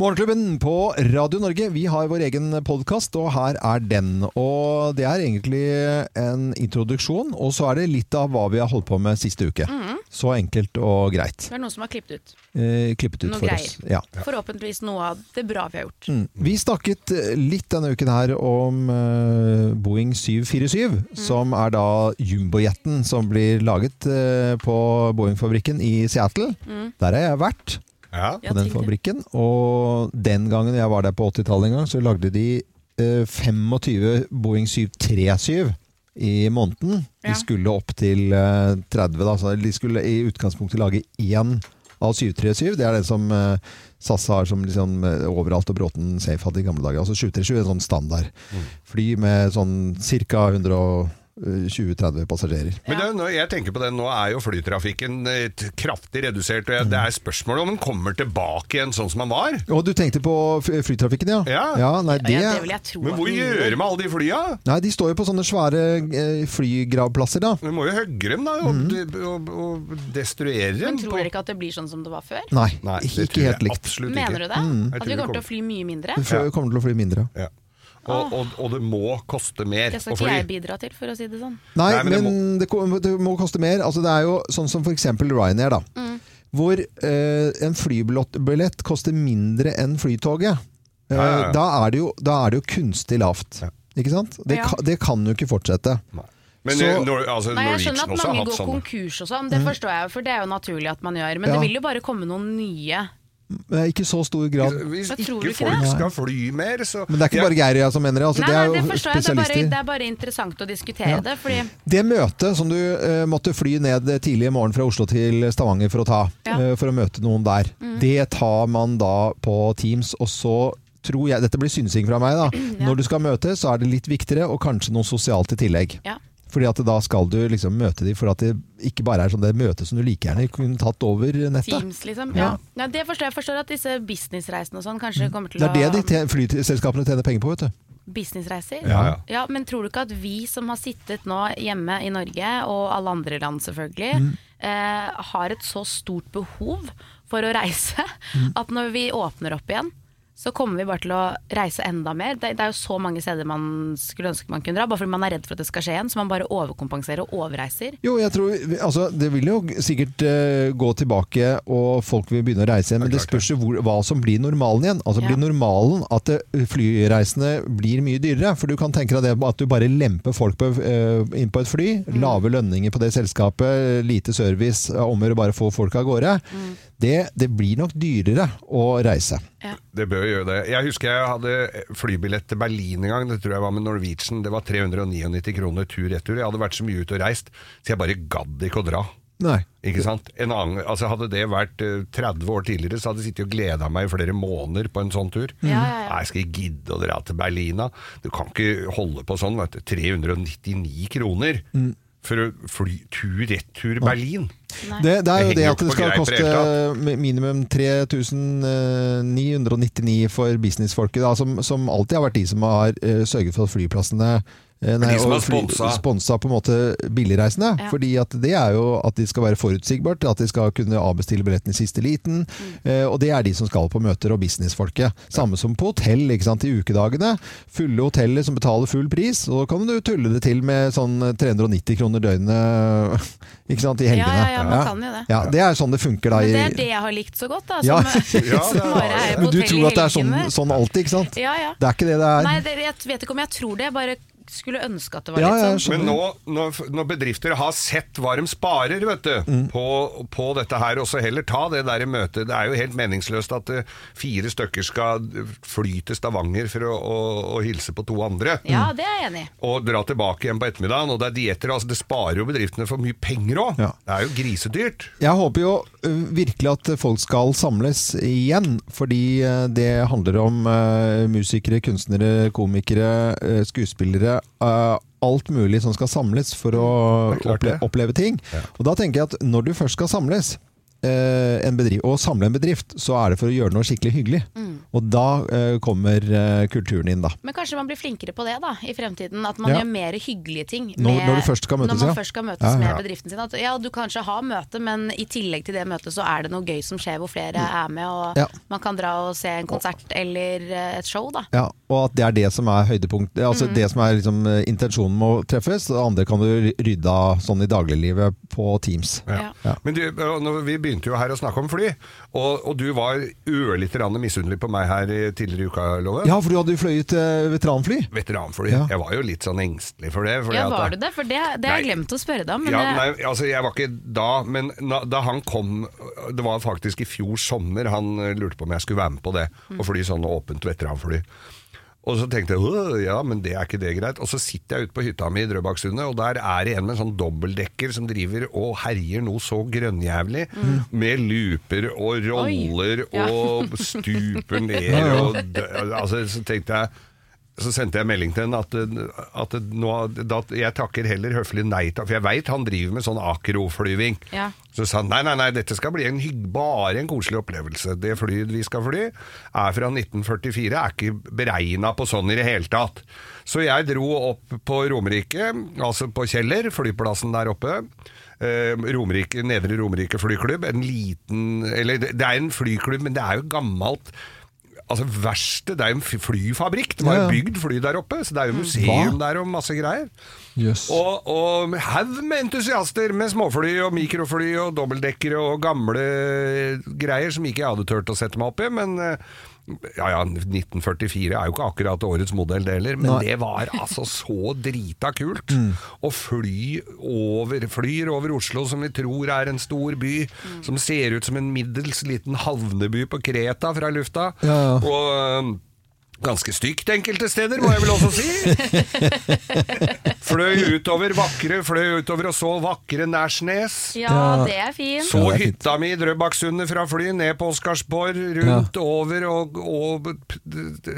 Morgenklubben på Radio Norge, vi har vår egen podkast, og her er den. Og det er egentlig en introduksjon, og så er det litt av hva vi har holdt på med siste uke. Mhm. Så enkelt og greit. Det er noen som har klippet ut. Eh, klippet ut Noen for greier. oss. Ja. Forhåpentligvis noe av det bra vi har gjort. Mm. Vi snakket litt denne uken her om eh, Boeing 747, Mhm. som er da jumbojeten som blir laget eh, på Boeing-fabrikken i Seattle. Der har jeg vært. Mhm. Ja, på den tenk det. fabrikken. Og den gangen jeg var der på 80-tallet en gang, så lagde de eh, 25 Boeing 737 i måneden. Ja. De skulle opp til eh, 30, da. Så de skulle i utgangspunktet lage én av 737. Det er den som eh, SAS har som liksom eh, overalt og Bråten Safe hadde i gamle dager. Altså 737 er en sånn standard fly med sånn ca. 120-30 eh, passasjerer. Men det, når jeg tenker på det, nå er jo flytrafikken eh, t- kraftig redusert, og jeg, Mm. det er spørsmålet om den kommer tilbake igjen sånn som den var. Og du tenkte på fly- flytrafikken, ja? Ja. nei, Ja, ja, det vil jeg tro. Men hvor at- gjør de med alle de flya? Nei, de står jo på sånne svære eh, flygravplasser, da. Vi må jo hogge dem da, og, og, og destruere dem. Mm. Men tror dere ikke at det blir sånn som det var før? Nei, Nei, det ikke, ikke tror jeg helt likt. Absolutt ikke. Mm. Mener du det? Jeg tror At vi det kommer til kommer. å fly mye mindre? Du fø- kommer til å fly mindre. Ja. Og, og, og det må koste mer Det skal å ikke fly. jeg bidra til, for å si det sånn. Nei, Nei, men men, det det, ko- det må koste mer. Altså, det er jo sånn som f.eks. Ryanair, da. Mm. Hvor eh, en flybillett koster mindre enn flytoget. Ja, Eh, ja, ja. Da, er det jo, da er det jo kunstig lavt. Ikke sant? Det, Ja. kan, det kan jo ikke fortsette. Nei. Men Så- eh, Nor- altså, Nei, jeg Norwegian skjønner at også har mange hatt går sånne. konkurs og sånn, det forstår jeg jo, for det er jo naturlig at man gjør. Men Ja. det vil jo bare komme noen nye. Eh, Ikke i så stor grad. Hvis Men tror du ikke ikke folk det? skal fly mer, så Men det er ikke bare Geir og jeg som mener det. Altså, Nei, nei, det det er jo forstår jeg. Det er bare, spesialister. det er bare interessant å diskutere det, fordi Det møtet som du eh, måtte fly ned tidlig i morgen fra Oslo til Stavanger for å ta, Ja. Mm. eh, for å møte noen der, det tar man da på Teams, og så tror jeg, dette blir synsing fra meg da, når du skal møte, så er det litt viktigere, og kanskje noe sosialt i tillegg. Ja. Fordi at da skal du liksom møte de, for at det ikke bare er sånn det møtet som du like gjerne kunne tatt over nettet. Teams, liksom. Ja. Nei, det forstår jeg. jeg. Forstår at disse businessreisene og sånn kanskje kommer til Det å er det de te- flyselskapene tjener penger på, vet du. Businessreiser? Ja, ja. Men tror du ikke at vi som har sittet nå hjemme i Norge, og alle andre land selvfølgelig, eh, har et så stort behov for å reise at når vi åpner opp igjen, så kommer vi bare til å reise enda mer. Det, det er jo så mange steder man skulle ønske man kunne dra, bare fordi man er redd for at det skal skje igjen. Så man bare overkompenserer og overreiser. Jo, jeg tror, altså, Det vil jo sikkert eh, gå tilbake, og folk vil begynne å reise igjen. Men det klart spørs jo hvor, hva som blir normalen igjen. Altså Ja. Blir normalen at eh, flyreisende blir mye dyrere? For du kan tenke deg det at du bare lemper folk på, eh, inn på et fly. Lave lønninger på det selskapet, lite service, eh, om å gjøre bare få folk av gårde. Det, det blir nok dyrere å reise. Det bør gjøre det. Jeg husker jeg hadde flybillett til Berlin en gang, det tror jeg var med Norwegian. Det var 399 kroner tur-retur. Jeg hadde vært så mye ute og reist, så jeg bare gadd ikke å dra. Nei. Ikke sant? En annen, altså hadde det vært eh, 30 år tidligere, så hadde jeg sittet og gleda meg i flere måneder på en sånn tur. ja, ja. Nei, skal jeg gidde å dra til Berlin, da? Du kan ikke holde på sånn, vet du. 399 kroner Mm. for å fly tur-retur Berlin. Det, det er jo Det henger det jo ikke at det på skal greip i det koste hele mi- minimum 3999 for businessfolket, da, som, som alltid har vært de som har eh, sørget for at flyplassene eh, Nei, De som og har sponsa. sponsa på en måte billigreisende. Ja. Fordi at det er jo at de skal være forutsigbart, at de skal kunne avbestille billetten i siste liten. eh, Og det er de som skal på møter og businessfolket. Samme som på hotell ikke sant, i ukedagene. Fulle hoteller som betaler full pris. Og da kan du tulle det til med sånn 390 kroner døgnet ikke sant, i Ja, helgene. ja, ja, man kan jo det. Ja, det er sånn det funker da. Men i- det er det jeg har likt så godt, da. Ja. Som, Ja, det som er- bare er Men du på hotell i tror at det er sånn, helgene. sånn alltid, ikke sant? Ja, ja. Det er ikke det det er. Nei, det, jeg vet ikke om jeg tror det. Jeg bare skulle ønske at det var Ja, litt ja, sånn. jeg skjønner. Men nå, når, når bedrifter har sett hva de sparer vet du, Mm. på, på dette her, og så heller ta det der i møtet Det er jo helt meningsløst at eh, fire stykker skal fly til Stavanger for å, å, å hilse på to andre. Ja, det er jeg enig i. Og dra tilbake igjen på ettermiddagen, og det er dietter. Altså, det sparer jo bedriftene for mye penger òg. Ja. Det er jo grisedyrt. Jeg håper jo ø, virkelig at folk skal samles igjen, fordi ø, det handler om ø, musikere, kunstnere, komikere, ø, skuespillere. ø, Alt mulig som skal samles for å Mm. Det er klart opple det. oppleve ting. Og da tenker jeg at når du først skal samles ø, en bedrift, og samle en bedrift, så er det for å gjøre noe skikkelig hyggelig. Mm. Og da ø, kommer ø, kulturen inn, da. Men kanskje man blir flinkere på det da, i fremtiden. At man Ja. gjør mer hyggelige ting. Når- når du først skal møtes, når ja. man først skal møtes Ja, ja. med bedriften sin. At ja, du kanskje har møte, men i tillegg til det møtet så er det noe gøy som skjer hvor flere er med. Og Mm. Ja. man kan dra og se en konsert eller eh, et show, da. Ja, og at det er det som er høydepunkt Altså det som er liksom eh, intensjonen med å treffes, og det andre kan du rydde av sånn i dagliglivet på Teams. Ja. Men du, øh, nå- vi begynte jo her å snakke om fly, og, og du var ørlite grann misunnelig på meg her i tidligere i uka, Loven. Ja, for du hadde jo fløyet eh, veteranfly. Veteranfly. Ja. Jeg var jo litt sånn engstelig for det. fordi Ja, at var da- du det? For det, det har jeg Nei. glemt å spørre deg om. Men Ja, det- nei, altså jeg var ikke da, men na, da han kom Det var faktisk i fjor sommer han eh, lurte på om jeg skulle være med på det. Og fly sånn åpent veteranfly. Og så tenkte jeg «Åh, ja, men det er ikke det greit. Og så sitter jeg ute på hytta mi i Drøbaksundet, og der er det en med en sånn dobbeltdekker som driver og herjer noe så grønnjævlig. Med looper og roller Ja. og stuper ned og dø- altså, Så tenkte jeg så sendte jeg melding til henne at, at nå, da, jeg takker heller høflig nei takk, for jeg veit han driver med sånn akroflyving. Ja. Så sa han nei, nei, nei, dette skal bli en hygg, bare en koselig opplevelse. Det flyet vi skal fly, er fra 1944, er ikke beregna på sånn i det hele tatt. Så jeg dro opp på Romerike, altså på Kjeller, flyplassen der oppe. Eh, Romerike, Nedre Romerike flyklubb, en liten Eller det det er en flyklubb, men det er jo gammelt. Altså verste, Det er jo en fly- flyfabrikk. Det var Ja, jo ja. bygd fly der oppe, så det er jo museum der og masse greier. Jøss. Og, og haug med entusiaster med småfly og mikrofly og dobbeltdekkere og gamle eh, greier som ikke jeg hadde turt å sette meg opp i, men eh, ja, ja, 1944 er jo ikke akkurat årets modell det heller, men Nei. Mm. det var altså så drita kult. Å fly over, flyr over Oslo, som vi tror er en stor by, Mm. som ser ut som en middels liten havneby på Kreta fra lufta. Ja, ja. Og... eh, Ganske stygt enkelte steder, må jeg vel også si. fløy utover vakre, fløy utover og så vakre Nærsnes. ja, det er fint. Så Ja, det er fint. hytta mi i Drøbaksundet fra fly, ned på Oscarsborg, rundt, over og, og p- d- d-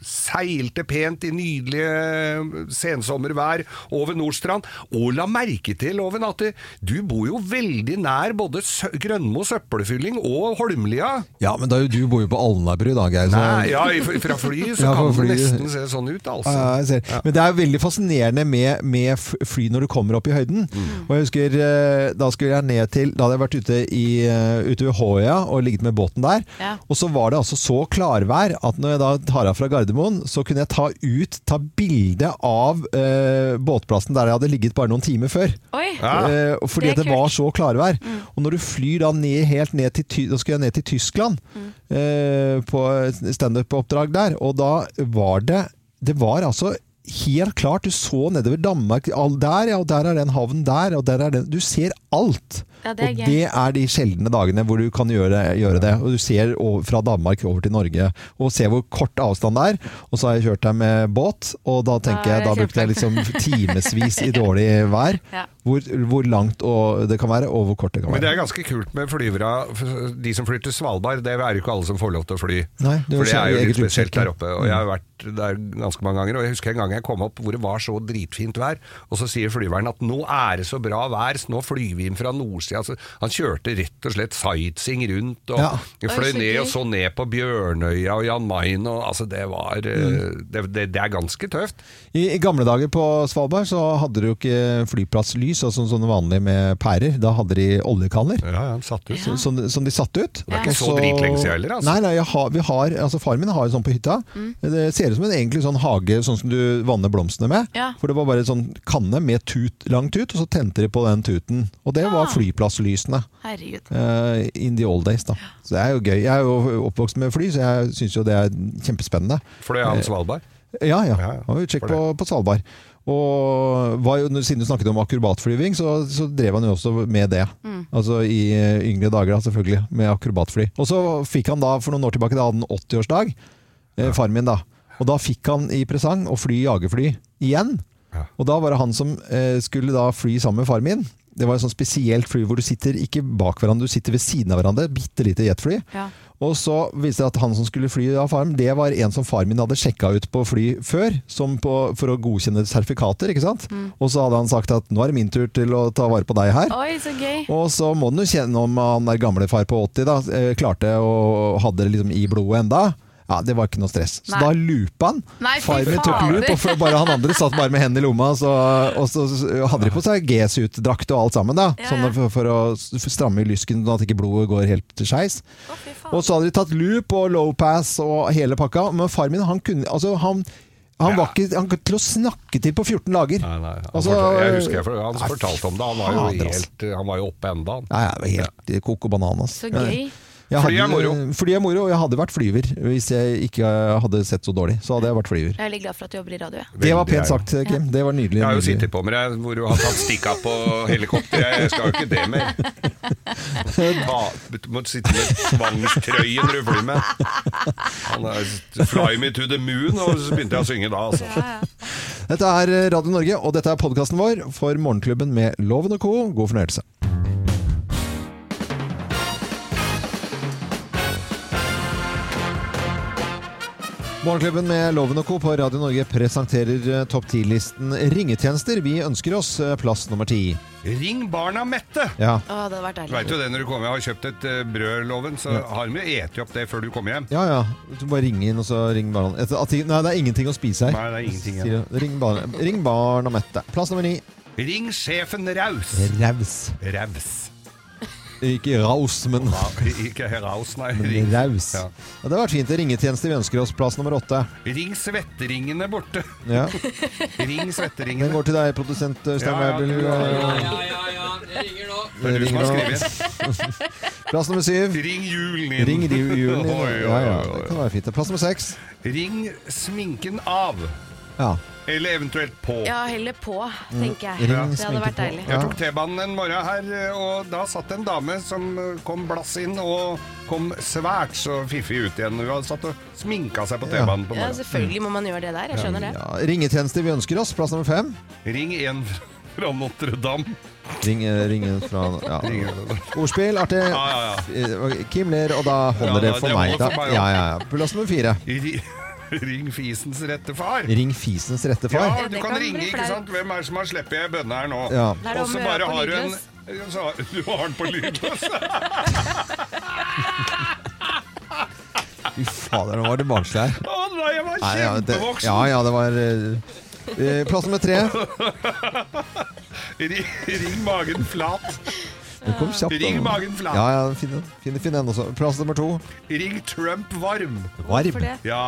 seilte pent i nydelige eh, sensommervær over Nordstrand. Og la merke til, Loven, at du bor jo veldig nær både Sø- Grønmo søppelfylling og Holmlia. Ja, men da, er jo- du bor jo på Alnabru, da, Geir. så- Nei, ja, i- fra flyet så Ja, kan fra det flyet. nesten se sånn ut, altså. Ja, jeg ser. Men det er jo veldig fascinerende med, med f- fly når du kommer opp i høyden. Og jeg husker eh, Da skulle jeg ned til Da hadde jeg vært ute, i, eh, ute ved Håøya og ligget med båten der. Ja. Og så var det altså så klarvær at når jeg da tar av fra Gardermoen, så kunne jeg ta ut Ta bilde av eh, båtplassen der jeg hadde ligget bare noen timer før. Oi! Ja. Eh, og fordi Det er Mm. det, det var så klarvær. Og når du flyr da ned, helt ned til, Ty- da skulle jeg ned til Tyskland Mm. eh, på standup-oppdrag der, og da var det Det var altså helt klart. Du så nedover Danmark. All der, ja, og der er den havnen der, og der er den Du ser alt. Ja, det er og gøy. det er de sjeldne dagene hvor du kan gjøre, gjøre det. Og du ser over, fra Danmark over til Norge, og ser hvor kort avstand det er. Og så har jeg kjørt deg med båt, og da tenker Ja, jeg, da det er brukte jeg liksom timevis i dårlig vær. Ja. Hvor, hvor langt og, det kan være, og hvor kort det kan Men det være. er ganske kult med flyvere. for De som flyr til Svalbard, det er jo ikke alle som får lov til å fly. Nei, det er jo for det er jo eget litt spesielt utsjekk, ja. Mm. der oppe. Og jeg har vært der ganske mange ganger. Og jeg husker en gang jeg kom opp hvor det var så dritfint vær, og så sier flyveren at nå er det så bra vær, så nå flyr vi inn fra nordsida. Altså, han kjørte rett og slett sightseeing rundt og Ja. fløy Oi, så ned gøy. og så ned på Bjørnøya og Jan Mayen og altså det var eh, Mm. det, det, det er ganske tøft. I, I gamle dager på Svalbard så hadde du jo ikke flyplasslys, altså sånn- sånne vanlige med pærer. Da hadde de oljekanner. Ja, ja, han satt ut. Som, som de satte ut. Det er ikke Og så dritlenge siden heller, altså. Nei, nei, jeg har, vi har, altså faren min har jo sånn på hytta. Mm. Det ser ut som en egentlig sånn hage, sånn som du vanner blomstene med. Ja. For det var bare en sånn kanne med tut, lang tut, og så tente de på den tuten. Og det var flyplasslysene. Herregud. eh, in the old days, da. Så det er jo gøy. Jeg er jo oppvokst med fly, så jeg syns jo det er kjempespennende. Fløy han Svalbard? Ja, ja. Ja, ja. Han var jo sjekk For på, på Svalbard. Og var jo, siden du snakket om akrobatflyving, så, så drev han jo også med det. Altså I eh, yngre dager, da, selvfølgelig, med akrobatfly. Og så fikk han da, for noen år tilbake, da hadde han 80-årsdag, eh, far min da. Og da fikk han i presang å fly jagerfly igjen. Ja. Og da var det han som eh, skulle da fly sammen med far min. Det var et sånt spesielt fly hvor du sitter ikke bak hverandre, du sitter ved siden av hverandre. Bitte lite jetfly. Ja. Og så viste det at han som skulle fly av faren, det var en som faren min hadde sjekka ut på fly før, som på, for å godkjenne sertifikater, ikke sant. Og så hadde han sagt at nå er det min tur til å ta vare på deg her. Oi, så gøy. Og så må den jo kjenne om han der gamle far på 80 da, eh, klarte å hadde det liksom i blodet enda. Ja, det var ikke noe stress. Så Nei. da lupa han. Nei, fy far min tok fader. lup, og for- bare han andre satt bare med hendene i lomma, så, og så hadde de på seg G-suit-drakt og alt sammen da, Ja, sånn ja. for, for å s- stramme i lysken, sånn at ikke blodet går helt til skeis. Å, fy faen. Og så hadde de tatt loop og low pass og hele pakka, men far min, han kunne, altså han, han var ikke han kunne til å snakke til på 14 dager. Nei, nei, han Altså, fortal- jeg husker jeg, for- han nei, fortalte om det. Han var fader, jo, altså. helt, eh, han var jo oppe enda. han. Nei, jeg var helt koko banan. Altså. Så gøy. Jeg Fly er hadde- moro. Fly er moro, og jeg hadde vært flyver hvis jeg ikke eh, hadde sett så dårlig. Så hadde jeg vært flyver. Jeg er veldig glad for at du jobber i radio. jeg. Det var Veldig pent ærlig. sagt, Kim. Det var nydelig. Jeg har jo nydelig. sittet på med deg hvor du har tatt stikka på helikopteret. Jeg skal jo ikke det mer. Ta, du må sitte med tvangstrøyen du flyr med. Han er, fly me to the moon, og så begynte jeg å synge da. Altså. Dette er eh, Radio Norge, og dette er podkasten vår for Morgenklubben med Loven og co. God fornøyelse. Morgenklubben med Loven og Co. på Radio Norge presenterer eh, topp 10-listen ringetjenester vi ønsker oss. eh, Plass nummer ti. Ring barna mette! Ja. Å, det hadde vært Du vet deilig. jo det når du kommer og har kjøpt et eh, brød, Loven, så har de jo eti opp det før du kommer hjem. Ja, ja. Du bare ring inn, og så ring barna. Et- at de- Nei, det er ingenting å spise her. Nei, det er ingenting igjen. Sier de. Ring barna, ring barna mette. Plass nummer ni. Ring sjefen raus! Raus. Raus. Ikke raus, men Ja, Ikke raus, nei. men Ring, raus. Ja. Ja. det har vært fint. Ringetjeneste vi ønsker oss. Plass nummer åtte. ring svetteringene borte. Ja. Ring svetteringene. Den går til deg, produsent eh, Ja, Øystein ja, Weibel. du- ja, ja, Ja, ja, ja, ja. Det ringer nå. Det er du som har ringer skrevet. Plass nummer syv. Ring julen inn. Ring de hjulene dine. Oi, oi, Ja, ja, oi, oi. det kan være fint. Plass nummer seks. Ring sminken av, Ja. eller eventuelt på. Ja, heller på, tenker Mm. jeg. Ring Det hadde vært sminke på. deilig. Jeg tok T-banen en morgen her, og da satt en dame som kom blass inn og kom svært så fiffig ut igjen. Hun hadde satt og sminka seg på Ja. T-banen på Ja, morgenen. Mm. selvfølgelig må man gjøre det der. Jeg skjønner det. Ja, ringetjeneste vi ønsker oss. Plass nummer fem. Ring en fra Notre-Dame. Ring, eh, ring fra ja. Ring en- Ordspill, artig. ja, Eh, Kim ler, og da holder Ja, det ja, for det meg. holder Da. for meg, ja. Ja, ja, ja. Plass nummer fire. Ri- Ring fisens rette far. Ring fisens rette far. Ja, du det kan kan ringe, bli ikke flaut. sant? Hvem er det som har sluppet ei bønne her nå? Ja. Det er det Og så om å bare gjøre på har du en lydløs. så har- Du har den på lydløs! Fy fader, nå var det barnslig her. Å nei, sånn, jeg var Nei, ja, det, kjempevoksen! ja, ja, det var eh, eh, Plass nummer tre. Ring, ring magen flat. Den kom kjapt. Ring da. magen flat. Ja, ja, fin den. Fin, fin den også. Plass nummer to. Ring Trump varm. Varm. For det. Ja.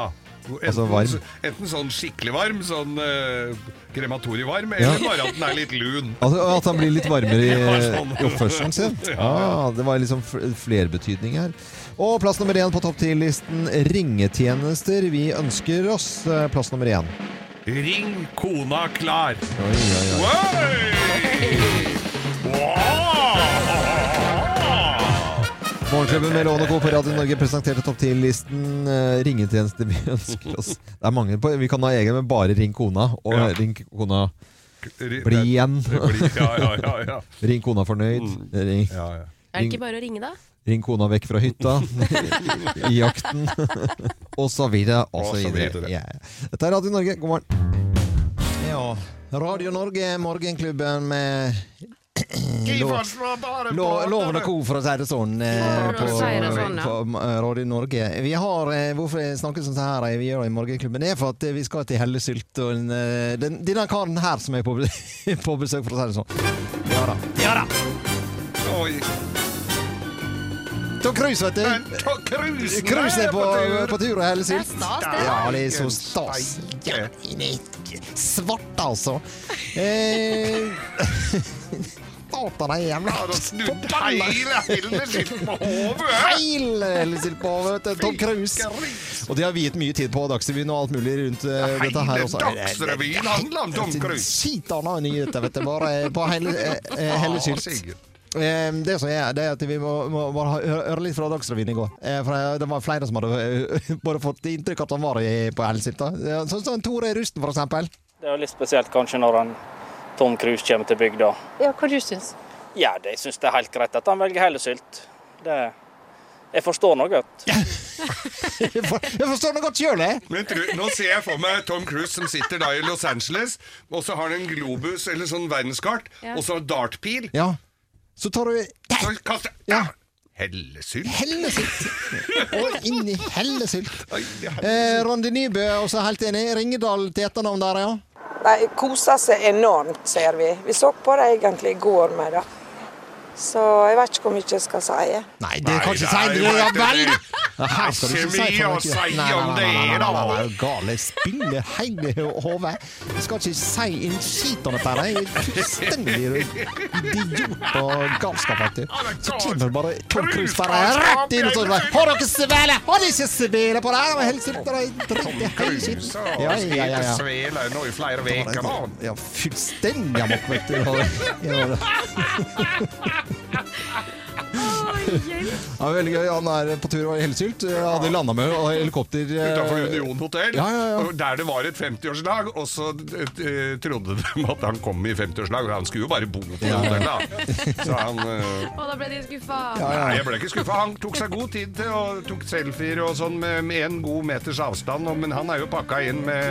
Altså, varm. så- enten sånn skikkelig varm, sånn eh, krematorievarm, Ja. eller bare at den er litt lun. Altså, at han blir litt varmere i, Ja, sånn. i oppførselen sin. Ah, det var liksom fl- flerbetydning her. Og plass nummer én på topp 10-listen ringetjenester vi ønsker oss. Eh, Plass nummer én. Ring kona klar. Oi, oi, oi. Oi! Wow! Morgenklubben med Lovende Co. på Radio Norge presenterte topp 10-listen eh, ringetjenester vi ønsker oss. Det er mange på. Vi kan ha egen, men bare ring kona. Og Ja. ring kona. Ri- Bli igjen. Bli- Ja, ja, ja. ja. Ring kona fornøyd. Ring, Mm. ja, ja. Er det ikke bare å ringe, da? ring kona vekk fra hytta. I jakten. og så videre, Og og så så videre. videre. Ja. Dette er Radio Norge, god morgen. Ja, Radio Norge, morgenklubben med Lov- Lo- Loven og co, for å si det sånn. eh, For å si det sånn, ja. på eh, Radio Norge. Vi har, eh, hvorfor jeg snakker sånn som her eh, vi gjør i Morgenklubben, det er for at eh, vi skal til Hellesylt. Og en, eh, den, denne karen her som er på, be- på besøk, for å si det sånn. Ja da. Ja da! Oi. Tom Cruise, vet Men du. ta Cruisen er Cruise eh, er på, på tur, og Det er Hellesylt. stas, det. Ja, det er så stas. Ja, det er Svart, altså. Eh, satan, Har jeg er jævla han snudd hele hele skilten på hodet? feil! Eller sier på, vet du, Tom Cruise. Og de har viet mye tid på Dagsrevyen og alt mulig rundt eh, Hele dette her også. Dagsrevyen handler om Tom Cruise. Ah, Sitana nyheter, vet du. Bare på hele, eh, eh, hele kylt. Sikkert. Eh, Det som er, det er at vi må, må, må ha- hø- høre litt fra Dagsrevyen i går. Eh, For eh, det var flere som hadde eh, bare fått inntrykk at han var i- på Elsilta. Eh, Sånn som Tore Rusten, for eksempel. Det er jo litt spesielt kanskje når en Tom Cruise kommer til bygda. Ja, hva du syns Ja, det syns det er helt greit at han velger hellesylt. Det Jeg forstår nå godt. Jeg for- jeg forstår det godt eh. sjøl, jeg! Men tru, nå ser jeg for meg Tom Cruise som sitter da i Los Angeles, og så har han en globus eller sånn verdenskart, og så en dartpil. Ja. Så tar du Så kaster Ja. Hellesylt. hellesylt! Og inn i hellesylt. Ai, det er- Eh, Randi Nybø, også helt enig. Ringedal til etternavn der, ja. De koser seg enormt, ser vi. Vi så på det egentlig i går med det. Så jeg vet ikke hvor mye jeg skal si. Nei, det Nei, kan ikke nei, si det, ja vet du vel! det. Ja, her skal du ikke Det er si ikke mye for mye. å si Nei, nei, om nei, nei, det er, nei, nei, da. nei, nei, Gale spinner hele hodet. Jeg skal ikke si en skit om dette. her. Jeg er fullstendig idiot og galskap, vet du. Så kommer bare Tom Cruise bare rett inn og så bare Har dere svele? Har dere ikke svele på det? her? Og helst ikke dere dritt i hele skitten. Så Ja, ja, ja, ja. sveler nå i flere veker nå. Ja, fullstendig amok, vet du. Ja, det- Ja, veldig gøy. Han er på tur over Hellesylt. Hadde landa med helikopter eh, Utenfor Union Hotel, Ja, ja, ja. og der det var et 50-årslag, og så eh, trodde de at han kom i 50-årslag, og han skulle jo bare bo på hotellet, da. Så han... eh, Og da ble de skuffa. Nei, jeg ble ikke skuffa. Han tok seg god tid til å tok selfier og sånn med, med en god meters avstand, og, men han er jo pakka inn med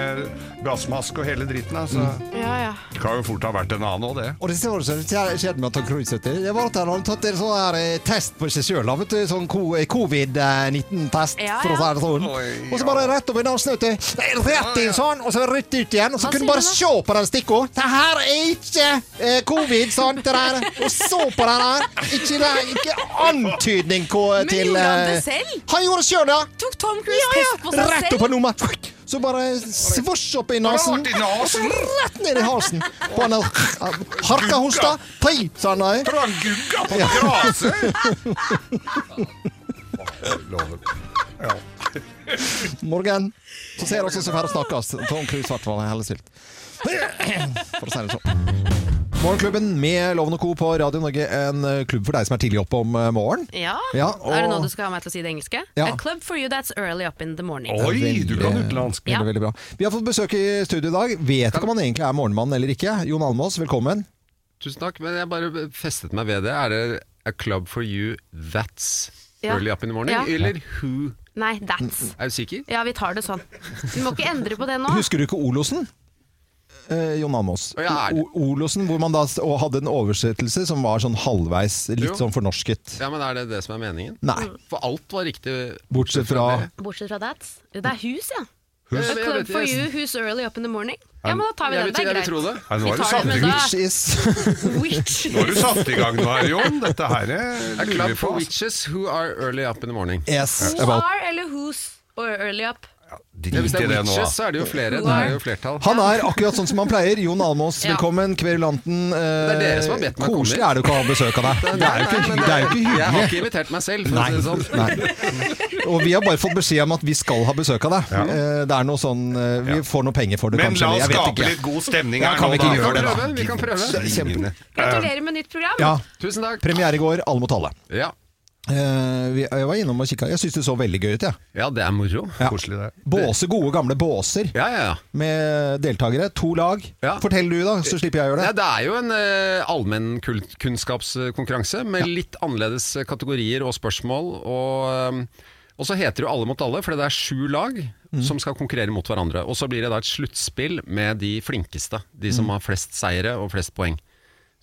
gassmaske og hele dritten, da, så Mm. Ja, ja. det kan jo fort ha vært en annen òg, det. Og det store som skjedde med Tom Cruise, vet du, det var at han hadde tatt en sånn her eh, test på seg sjøl. Sånn ko- eh, covid-19-test, Ja, for å si det sånn. Oi, Og så bare rett opp i nesen, vet du. Nei, Rett i en sånn, og så rett ut igjen. Og så Hva kunne sier du bare han da? se på den stikka. Det her er ikke eh, covid, sant? Det der. Og så på den her. Ikke, det, ikke antydning ko, Men til gjorde han eh, det selv? Han gjorde det sjøl, ja. Tok Tom Cruise test på seg Rett opp selv? på nummer. Fuck. Så bare svosj opp i nasen. Rart i nasen. Og så Rett ned i halsen. På en harka hosta. Tei, sa han eh. nei. Tror du han gugga på graset? Lover. Ja. Morgen. Så ser vi oss så færre snakkes. Tom Cruise, hvert fall. Hellesylt. For å si det sånn. Morgenklubben med Loven og Co. på Radio Norge. En eh, klubb for deg som er tidlig oppe om eh, morgenen. Ja. Ja, og- Er det nå du skal ha meg til å si det engelske? Ja. A club for you that's early up in the morning. Oi, du kan utenlandsk. Veldig, Ja. veldig bra. Vi har fått besøk i studio i dag. Vet ikke om han egentlig er morgenmann eller ikke. Jon Almås, velkommen. Tusen takk, men jeg bare festet meg ved det. Er det a club for you that's Ja. early up in the morning? Ja. Eller who? Nei, that's. Er du sikker? Ja, vi tar det sånn. Vi må ikke endre på det Ah. nå. Husker du ikke Olosen? Eh, Jon Almås. Å, ja, er det- O- Olosen, hvor man da s- og hadde en oversettelse som var sånn halvveis, litt Jo. sånn fornorsket. Ja, men er det det som er meningen? Nei. For alt var riktig. Bortsett fra det. Bortsett fra that's. Det er hus, ja. Hus? Jeg A vet club for ikke. you who's early up in the morning. Ja, men da tar vi Jeg vil, den. Det jeg er vil tro det. greit. Nei, nå har Vi du tar satt det, i men gang. da Which is Witch. Nå har du satt i gang nå, Jon. Dette her A er club lurer for på. ass. witches who are early up in the morning. Yes. Who about- are eller who's or early up? Ja, Drit hvis det i er det nå. witches, ass. så er det jo flere. Det er jo flertall. Han er akkurat sånn som han pleier. Jon Almås, Ja. velkommen. Kverulanten. Det er dere som har bedt meg komme. Koselig er det ikke å ha besøk av deg. Det er jo Nei, ikke, hy- men det er jo ikke Jeg har hyggelig. ikke invitert meg selv, for å Nei. si det sånn. Nei. Og vi har bare fått beskjed om at vi skal ha besøk av deg. Eh, Det er noe sånn eh, Vi får noe penger for det, Men kanskje. la eller oss Jeg vet skape ikke. litt god stemning Ja, her kan nå, vi da. ikke gjøre det, da? Vi kan prøve, vi kan Kjempe- Gratulerer med nytt program. Ja. Tusen takk. Premiere i går. Alle mot alle. Ja, Eh, vi- Jeg var innom og kikka. Jeg syns det så veldig gøy ut, jeg. ja det er moro. Ja. Koselig, det. Båse, gode gamle båser Ja, ja, ja. med deltakere. To lag. Ja. Fortell du, da, så slipper jeg å gjøre Nei, det. det er jo en uh, allmennkunnskapskonkurranse med litt annerledes eh, kategorier og spørsmål. Og, eh, og så heter det jo Alle mot alle, for det er sju lag som skal konkurrere mot hverandre. Og så blir det da et sluttspill med de flinkeste. De som har flest seire og flest poeng.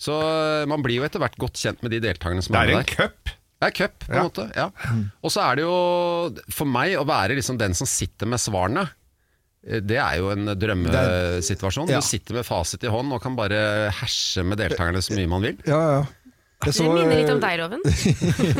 Så eh, man blir jo etter hvert godt kjent med de deltakerne som Det er er en med der. cup. Det er cup, på en måte. Ja. Og så er det jo, for meg, å være liksom den som sitter med svarene. eh, Det er jo en drømmesituasjon. Ja. Du sitter med fasit i hånd og kan bare herse med deltakerne så mye man vil. Ja, ja. Jeg Det så- minner litt om deg, Loven.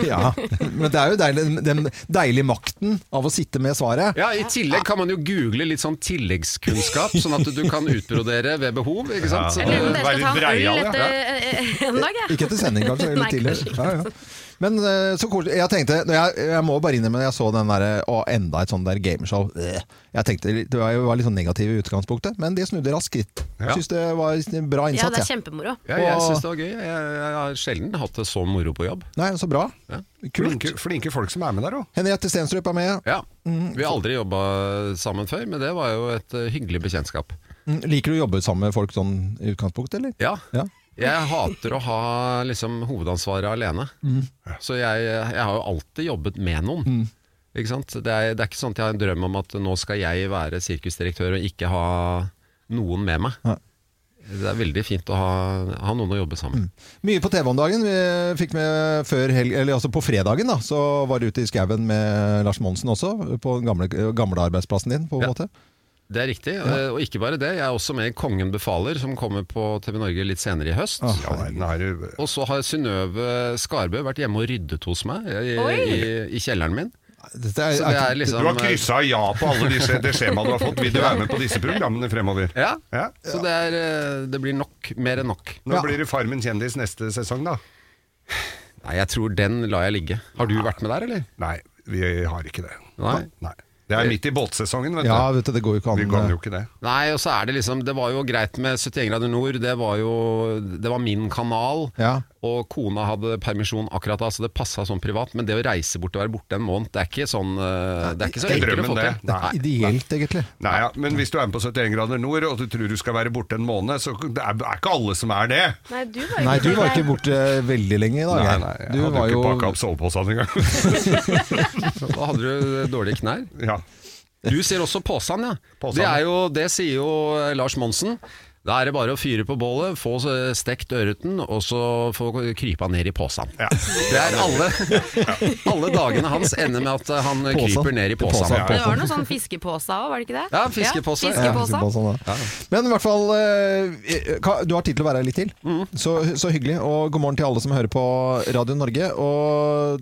ja. Men det er jo deilig, den deilige makten av å sitte med svaret. Ja, I tillegg kan man jo google litt sånn tilleggskunnskap, sånn at du kan utbrodere ved behov. ikke sant? Jeg lurer på om dere Være skal ta en breial, øl ja. etter eh, en dag, jeg. Ikke etter sending, kanskje. Eller Nei, tidligere. kanskje Ja, ja. Men eh, så koselig. Jeg tenkte når jeg, jeg må bare innrømme når jeg så den derre Å, enda et sånn der gameshow. Øh. Jeg tenkte Det var, jeg var litt sånn negativ i utgangspunktet, men de snudde raskt skritt. Ja. Syns det var en bra Ja, det innsats, er jeg. kjempemoro. Ja, jeg syns det var gøy. Jeg, jeg har sjelden hatt det så moro på jobb. Nei, så bra. Ja. Kult. Flinke, flinke folk som er med der òg. Henriette Stenstrup er med. Ja, Vi har aldri jobba sammen før, men det var jo et eh, hyggelig bekjentskap. Mm, Liker du å jobbe sammen med folk sånn i utgangspunktet, eller? Ja. Ja. Jeg hater å ha liksom, hovedansvaret alene, Mm. så jeg, jeg har jo alltid jobbet med noen. Ikke sant? Det, er, det er ikke sånn at jeg har en drøm om at nå skal jeg være sirkusdirektør og ikke ha noen med meg. Nei. Det er veldig fint å ha, ha noen å jobbe sammen med. Mm. Mye på TV om dagen. Vi fikk med før helg, eller altså på fredagen da, så var du ute i skauen med Lars Monsen også, på den gamle, gamle arbeidsplassen din, på en Ja. måte. Det er riktig, eh, og ikke bare det. Jeg er også med i Kongen befaler, som kommer på TV Norge litt senere i høst. Ah. Ja, den er jo- Og så har Synnøve Eh, Skarbø vært hjemme og ryddet hos meg eh, i, Oi! i, i kjelleren min. Dette er, Så det er er ikke- liksom Eh, du har kryssa ja på alle disse det skjemaene du har fått. Vil du være med på disse programmene fremover? Ja, Ja. så det, er, eh, det blir nok. Mer enn nok. Nå Ja. blir det Farmen kjendis neste sesong, da. Nei, jeg tror den lar jeg ligge. Har du vært med der, eller? Nei, vi har ikke det. Nei. Det er midt i båtsesongen, vet du. Ja, vet du, det går jo ikke an. eh. Vi kan jo ikke det. Nei, og så er det liksom Det var jo greit med 71 grader nord. Det var jo Det var min kanal. Ja. Og kona hadde permisjon akkurat da, så det passa sånn privat. Men det å reise bort og være borte en måned, det er ikke sånn eh, Det er ikke så Det er enkelt å drømmen, få det. til. Det er ikke Nei. ideelt, egentlig. Nei, ja. Men hvis du er med på 71 grader nord, og du tror du skal være borte en måned, så det er det er ikke alle som er det. Nei, du var jo Nei, du var ikke borte veldig lenge i Nei, dag. Geir. nei, jeg du hadde var jo ikke pakka jo opp soveposene engang. Da hadde du dårlige knær. ja. Du sier også påsan, ja. Påsan. Det, er jo, det sier jo eh, Lars Monsen. Da er det bare å fyre på bålet, få eh, stekt ørreten, og så få krypa ned i påsan. Ja. Det er alle, alle dagene hans ender med at eh, han Påsan. kryper ned i Påsan, påsan. ja. Det var noe sånn fiskepåsa òg, var det ikke det? Ja, fiskepåse. Ja, fiskepåsa. på sånn, da. Men i hvert fall eh, ka- Du har tid til å være her litt til. Mm. Så, så hyggelig. Og god morgen til alle som hører på Radio Norge. Og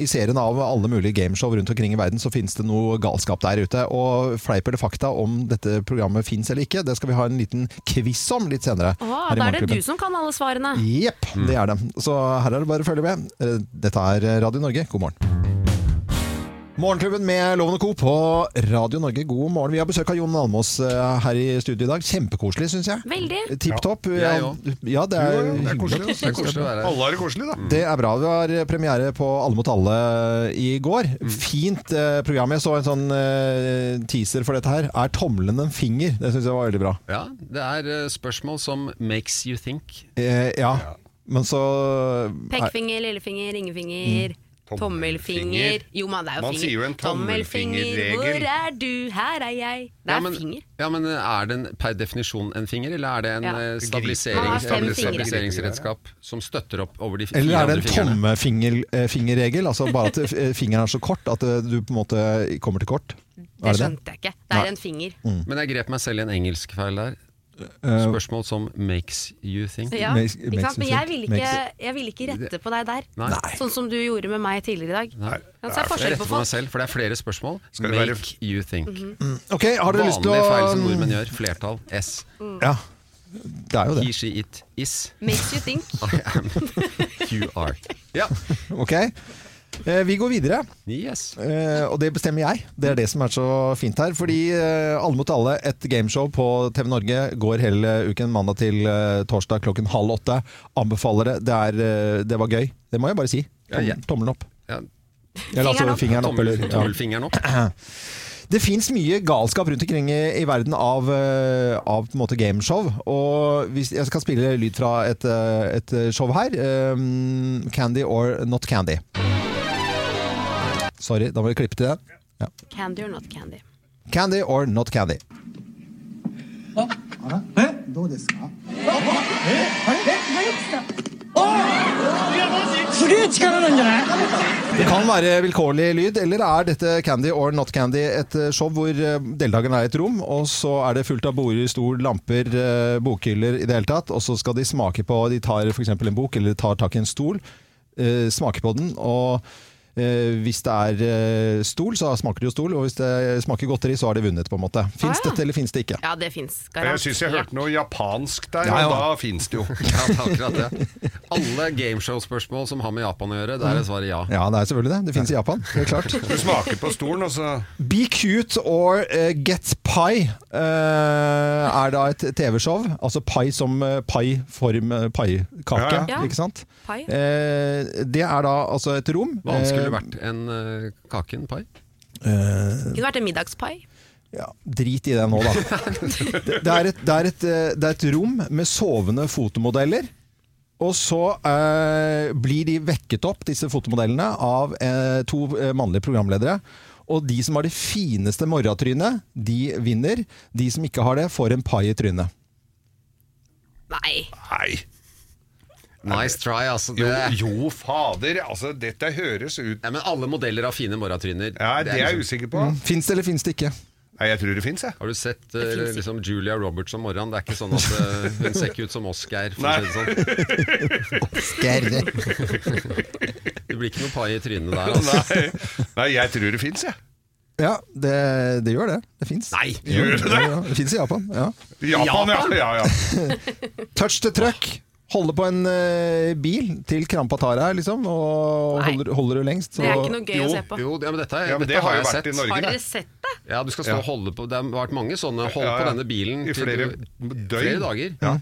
i serien av alle mulige gameshow rundt omkring i verden, så finnes det noe galskap der ute. Og fleip eller fakta om dette programmet fins eller ikke, det skal vi ha en liten quiz om litt senere. Å, her i da er det Morgenklubben. du som kan alle svarene. Jepp, det er det. Så her er det bare å følge med. Eh, Dette er Radio Norge, god morgen. Morgenklubben med Loven og Co. på Radio Norge, god morgen. Vi har besøk av Jon Almås eh, her i studio i dag. Kjempekoselig, syns jeg. Veldig. Tipp topp. Ja, jeg òg. Ja, det er, Jo, jo, det er hyggelig. koselig. Det er koselig å være her. Alle har det koselig, da. Det er bra. Vi har premiere på Alle mot alle eh, i går. Mm. Fint eh, program. Jeg så en sånn eh, teaser for dette her. Er tommelen en finger? Det syns jeg var veldig bra. Ja, det er eh, spørsmål som makes you think. Eh, ja. Men så Pekefinger, lillefinger, ringefinger. Tommelfinger Jo, men det er jo Man finger. sier jo en tommelfingerregel. Hvor er du? Her er jeg. Det er men, finger. ja, men eh, er det en, per definisjon en finger, eller er det en Ja. eh, Man har stabilisering, fem fingre. stabiliseringsredskap som støtter opp over de fire Eller er det andre en fingrene? tommefingerregel? Altså bare at eh, fingeren er så kort at eh, du på en måte kommer til kort? Det Er det det? skjønte jeg ikke. Det Nei. Mm. er en finger. Men jeg grep meg selv i en engelskfeil der. Eh, Spørsmål som makes you think. Ja, Makes- ikke makes sant? Men me jeg think. vil, ikke, jeg vil ikke rette på deg der. Nei. Nei. Sånn som du gjorde med meg tidligere i dag. Nei. Ja, så er det Jeg forskjell retter på Mhm. på meg folk. selv, for det er flere spørsmål. Skal det Make være- you think. ok, har dere lyst til Vanlige feil som å mm, nordmenn gjør. Flertall. S. Mm. Ja, det er jo He, det. she, it, is. Makes you think. I am. You are. Ja. Ok. Eh, Vi går videre, Yes. eh, og det bestemmer jeg. Det er det som er så fint her. Fordi eh, Alle mot alle, et gameshow på TV Norge, går hele uken mandag til eh, torsdag klokken halv åtte. Anbefaler det. Det, er, eh, det var gøy. Det må jeg bare si. Ja, ja. Tom, tommelen opp. Ja. Eller altså Fingeren fingeren opp. Tommel, Eller, ja. tommelfingeren opp. Det fins mye galskap rundt omkring i, i verden av, eh, av på en måte gameshow. Og hvis, jeg skal spille lyd fra et, eh, et show her. eh, candy or not candy. Sorry, da må vi klippe til det. Ja. Candy or not candy. Candy or not candy. どうですかえあれえ早く来たおい Det kan være vilkårlig lyd, eller er dette Candy or Not Candy et eh, show hvor eh, deltakerne er i et rom, og så er det fullt av border, stol, lamper, eh, bokhyller i det hele tatt, og så skal de smake på De tar f.eks. en bok, eller tar tak i en stol, eh, smaker på den, og eh, hvis det er eh, stol, så smaker det jo stol, og hvis det smaker godteri, så har de vunnet, på en måte. Fins Ah, ja. dette, eller fins det ikke? Ja, det fins. Jeg syns jeg hørte noe japansk der, Ja, ja. og da fins det jo. Ja, det er akkurat det. Alle gameshow-spørsmål som har med Japan å gjøre, der er svaret ja. Ja, det er selvfølgelig det. Det fins i Japan, helt klart. Du smaker på stolen, og så Be Cute or eh, Get Pie eh, er da et TV-show. Altså pai som uh, pai form eh, paikake, Ja, ja. ikke sant? Pai. Eh, det er da altså et rom. Hva annet skulle det vært enn eh, kake, en pai? Eh, Kunne vært en middagspai. ja, drit i det nå, da. Det, det, er et, det, er et, eh, det er et rom med sovende fotomodeller. Og så eh, blir de vekket opp, disse fotomodellene, av eh, to eh, mannlige programledere. Og de som har det fineste morratrynet, de vinner. De som ikke har det, får en pai i trynet. Nei. Nei. Nice try, altså. Jo, Det. jo fader. Altså, dette høres ut Ja, men alle modeller har fine morgentryner. Ja, det er jeg liksom- usikker på. Fins det eller fins det ikke? Nei, jeg tror det fins, jeg. Har du sett eh, finnes ikke. liksom Julia Roberts om morgenen? Det er ikke sånn at eh, hun ser ikke ut som oss, Geir. For å Nei. si det sånn. Gerre. Det blir ikke noe pai i trynet der. Altså. Nei, Nei jeg tror det fins, jeg. Ja, det, det gjør det. Det fins. Nei! Gjør det det? Ja, det fins i Japan. ja. Japan, ja. ja, ja. Touch the truck. Holde på en eh, bil til krampa tar deg, liksom. Og Nei. holder, holder du lengst. Det er så- ikke noe gøy Jo, å se på. Jo, ja, men dette, er- ja men dette det har har jo jeg vært sett. i Norge, det. Har dere sett det? Ja, du skal stå og holde på Det har vært mange sånne. Hold Ja, ja. på denne bilen I til flere du- døgn. flere dager.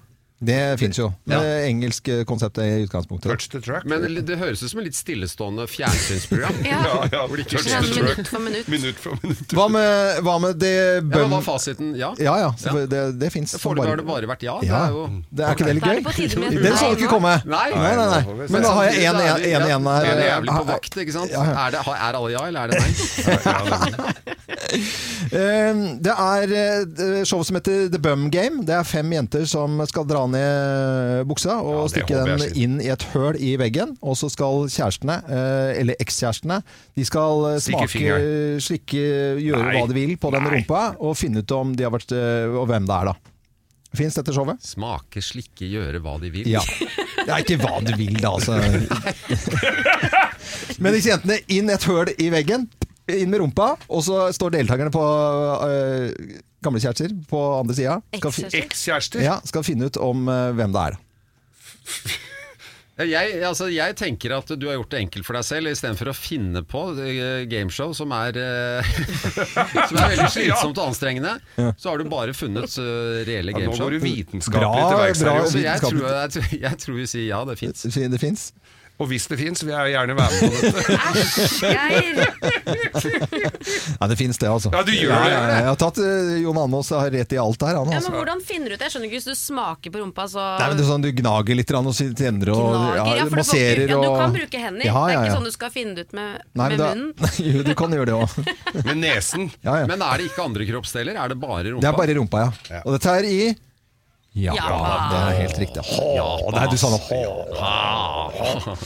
Det fins jo. Ja. Det engelske konseptet i utgangspunktet. Touch the truck. Men det høres ut som et litt stillestående fjernsynsprogram. Ja. ja, ja. Touch Sånn the truck. minutt for minutt. Minutt for minutt. Hva med, hva med det Ja, men bønn... Hva er fasiten? Ja. Ja ja, så det, det fins. Foreløpig har det bare vært ja. Det ja. er Mm. jo Det er ikke det litt Da er gøy? det på tide med et Den så nei du ikke nå. komme. Nei. nei, nei, Nå får vi nei. se. Men da har jeg Samtidig én så er vi- igjen Ja, her. vi er jævlig på Eh, vakt, ikke sant? Er, det, har- er alle ja, eller er det nei? Eh, Det er eh, show som heter The Bum Game. Det er fem jenter som skal dra ned eh, buksa og Ja, det stikke håper jeg den slipper. inn i et høl i veggen. Og så skal kjærestene, eh, eller ekskjærestene, de skal eh, Stikke smake, fingeren. slikke, gjøre Nei. hva de vil på den Nei. rumpa, og finne ut om de har vært, eh, og hvem det er, da. Fins dette showet? Smake, slikke, gjøre hva de vil. Ja. Det er ikke hva du vil, da, altså. Men disse jentene inn et høl i veggen, inn med rumpa, og så står deltakerne på øh, gamle kjærester på andre sida. Skal, fi- Ekskjærester. Ekskjærester. ja, skal finne ut om øh, hvem det er. Jeg, altså, jeg tenker at du har gjort det enkelt for deg selv, istedenfor å finne på eh, gameshow som er, eh, som er veldig slitsomt og anstrengende. Så har du bare funnet eh, reelle Ja, nå gameshow. går du Bra, vitenskapelig til verks. her, bra. Jørgen. Så jeg tror, jeg, tror- jeg tror vi sier ja, det fins. Fi- Det fins. Og hvis det fins, vil jeg gjerne være med på dette. Geir! Ja, det fins det, altså. Ja, du gjør det. ja, Jeg har tatt øh, Jon Almaas har rett i alt her, han. Ja, Altså. men hvordan finner du ut det? Jeg skjønner ikke hvis du smaker på rumpa, så Nei, men det er sånn Du gnager litt grann og så tenner og Gnager, ja, for du får masserer ikke- ja, og Du kan bruke hender. Ja, ja, Det er ja. ikke sånn du skal finne det ut med, Nei, men med da- munnen. Jo, du kan gjøre det òg. Med nesen. Ja, ja. Men er det ikke andre kroppsdeler? Er det bare rumpa? Det er bare rumpa, ja. Og dette er i Ja, Ja. det er helt riktig. Hå, nei, du sa det. Hå.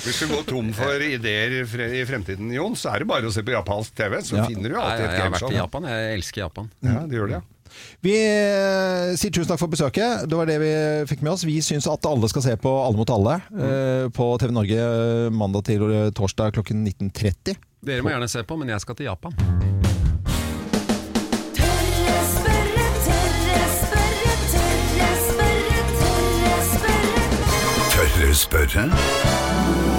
Hvis du går tom for ideer fre- i fremtiden, Jon, så er det bare å se på japansk TV. Så Ja. finner du Nei, alltid jeg, et har vært gameshow. i Japan. Jeg elsker Japan. Ja, det gjør det, ja. Vi eh, sier tusen takk for besøket. Det var det vi fikk med oss. Vi syns at alle skal se på Alle mot alle eh, på TV Norge eh, mandag til eh, torsdag klokken 19.30. Dere må gjerne se på, men jeg skal til Japan. Tørre spørre, tørre spørre, tørre spørre, tørre spørre. Tørre spørre?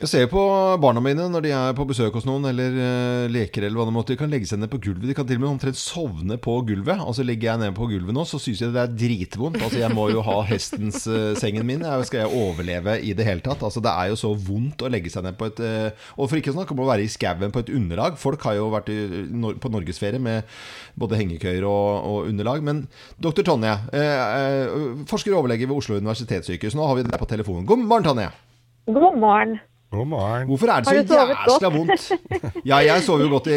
Jeg ser på barna mine når de er på besøk hos noen eller eh, leker eller hva det måtte. De kan legge seg ned på gulvet. De kan til og med omtrent sovne på gulvet. Altså legger jeg ned på gulvet nå, så syns jeg det er dritvondt. Altså jeg må jo ha hestens eh, sengen min. Jeg, skal jeg overleve i det hele tatt? Altså det er jo så vondt å legge seg ned på et eh, Og for ikke å snakke om å være i skauen på et underlag. Folk har jo vært i, nor på norgesferie med både hengekøyer og, og underlag. Men doktor Tonje, eh, eh, forsker og overlege ved Oslo universitetssykehus, nå har vi deg på telefonen. God morgen, Tonje. God morgen. God morgen. Hvorfor er det så Har du sovet jæskla vondt? Ja, jeg sover jo godt i,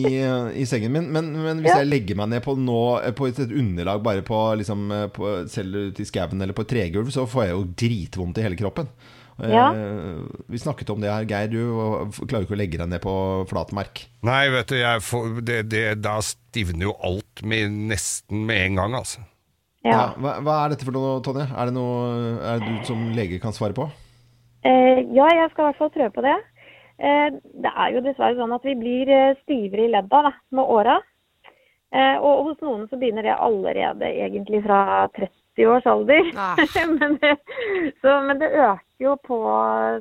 i, i sengen min, men, men hvis Ja. jeg legger meg ned på, nå, på et, et underlag, bare på, liksom, på, selv ute i skauen eller på et tregulv, så får jeg jo dritvondt i hele kroppen. Eh, Ja. Vi snakket om det her, Geir. Du eh, klarer jo ikke å legge deg ned på flatmark. Nei, vet du, jeg får, det, det, da stivner jo alt med, nesten med en gang, altså. Ja. Ja, hva, hva er dette for noe, Tonje? Er det noe er det du som lege kan svare på? Eh, ja, jeg skal i hvert fall prøve på det. Eh, det er jo dessverre sånn at vi blir eh, stivere i ledda da, med åra. Eh, og hos noen så begynner det allerede egentlig fra 30 års alder. Ah. men, det- så, men det øker jo på,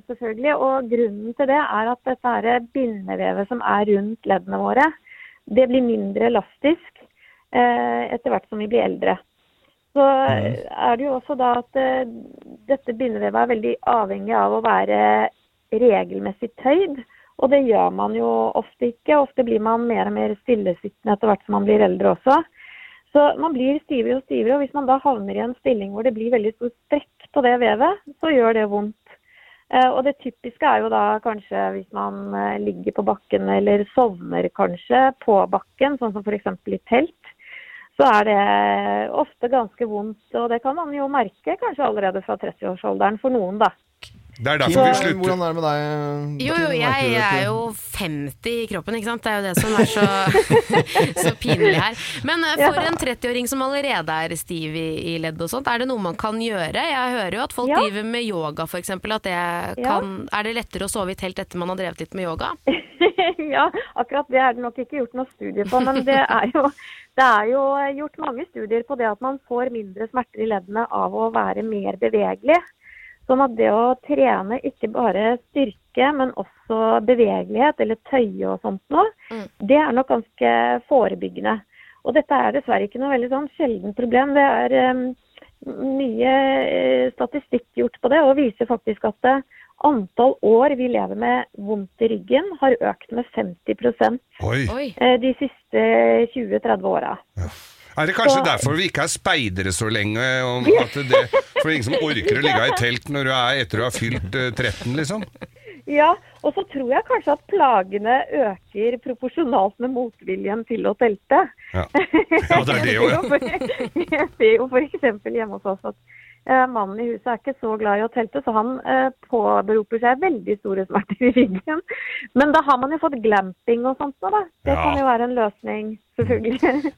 selvfølgelig. Og grunnen til det er at dette her bindevevet som er rundt leddene våre, det blir mindre elastisk eh, etter hvert som vi blir eldre. Så er det jo også da at eh, dette bindevevet er veldig avhengig av å være regelmessig tøyd. Og det gjør man jo ofte ikke. Ofte blir man mer og mer stillesittende etter hvert som man blir eldre også. Så man blir stivere og stivere, og hvis man da havner i en stilling hvor det blir veldig stor strekk på det vevet, så gjør det vondt. Eh, Og det typiske er jo da kanskje hvis man eh, ligger på bakken eller sovner kanskje på bakken, sånn som f.eks. i telt. Så er det eh, ofte ganske vondt, og det kan man jo merke kanskje allerede fra 30-årsalderen for noen, da. Det er Kim, derfor vi slutter. hvordan er det med deg? Jo, Kim? jo, Merker jeg du at er du- jo 50 i kroppen, ikke sant. Det er jo det som er så, så pinlig her. Men eh, for en 30-åring som allerede er stiv i, i ledd og sånt, er det noe man kan gjøre? Jeg hører jo at folk Ja. driver med yoga f.eks. At det Ja. kan Er det lettere å sove i telt etter man har drevet litt med yoga? ja, akkurat det er det nok ikke gjort noe studie på, men det er, jo, det er jo eh, gjort mange studier på det at man får mindre smerter i leddene av å være mer bevegelig. Sånn at det å trene ikke bare styrke, men også bevegelighet eller tøye og sånt noe, det er nok ganske forebyggende. Og dette er dessverre ikke noe veldig sånn sjelden problem. Det er em, mye eh, statistikk gjort på det, og viser faktisk at eh, antall år vi lever med vondt i ryggen, har økt med 50 Oi. Oi. eh, de siste 20-30 åra. Er det kanskje Så- derfor vi ikke er speidere så lenge? Om at det, for det er ingen som orker å ligge i telt når du er, etter du har fylt eh, 13, liksom. Ja, og så tror jeg kanskje at plagene øker proporsjonalt med motviljen til å telte. Ja, ja det er det jo. Ja. Jeg ser jo f.eks. hjemme hos oss at eh, mannen i huset er ikke så glad i å telte, så han eh, påberoper seg veldig store smerter i ryggen. Men da har man jo fått glamping og sånt nå, da. Det Ja. kan jo være en løsning, selvfølgelig.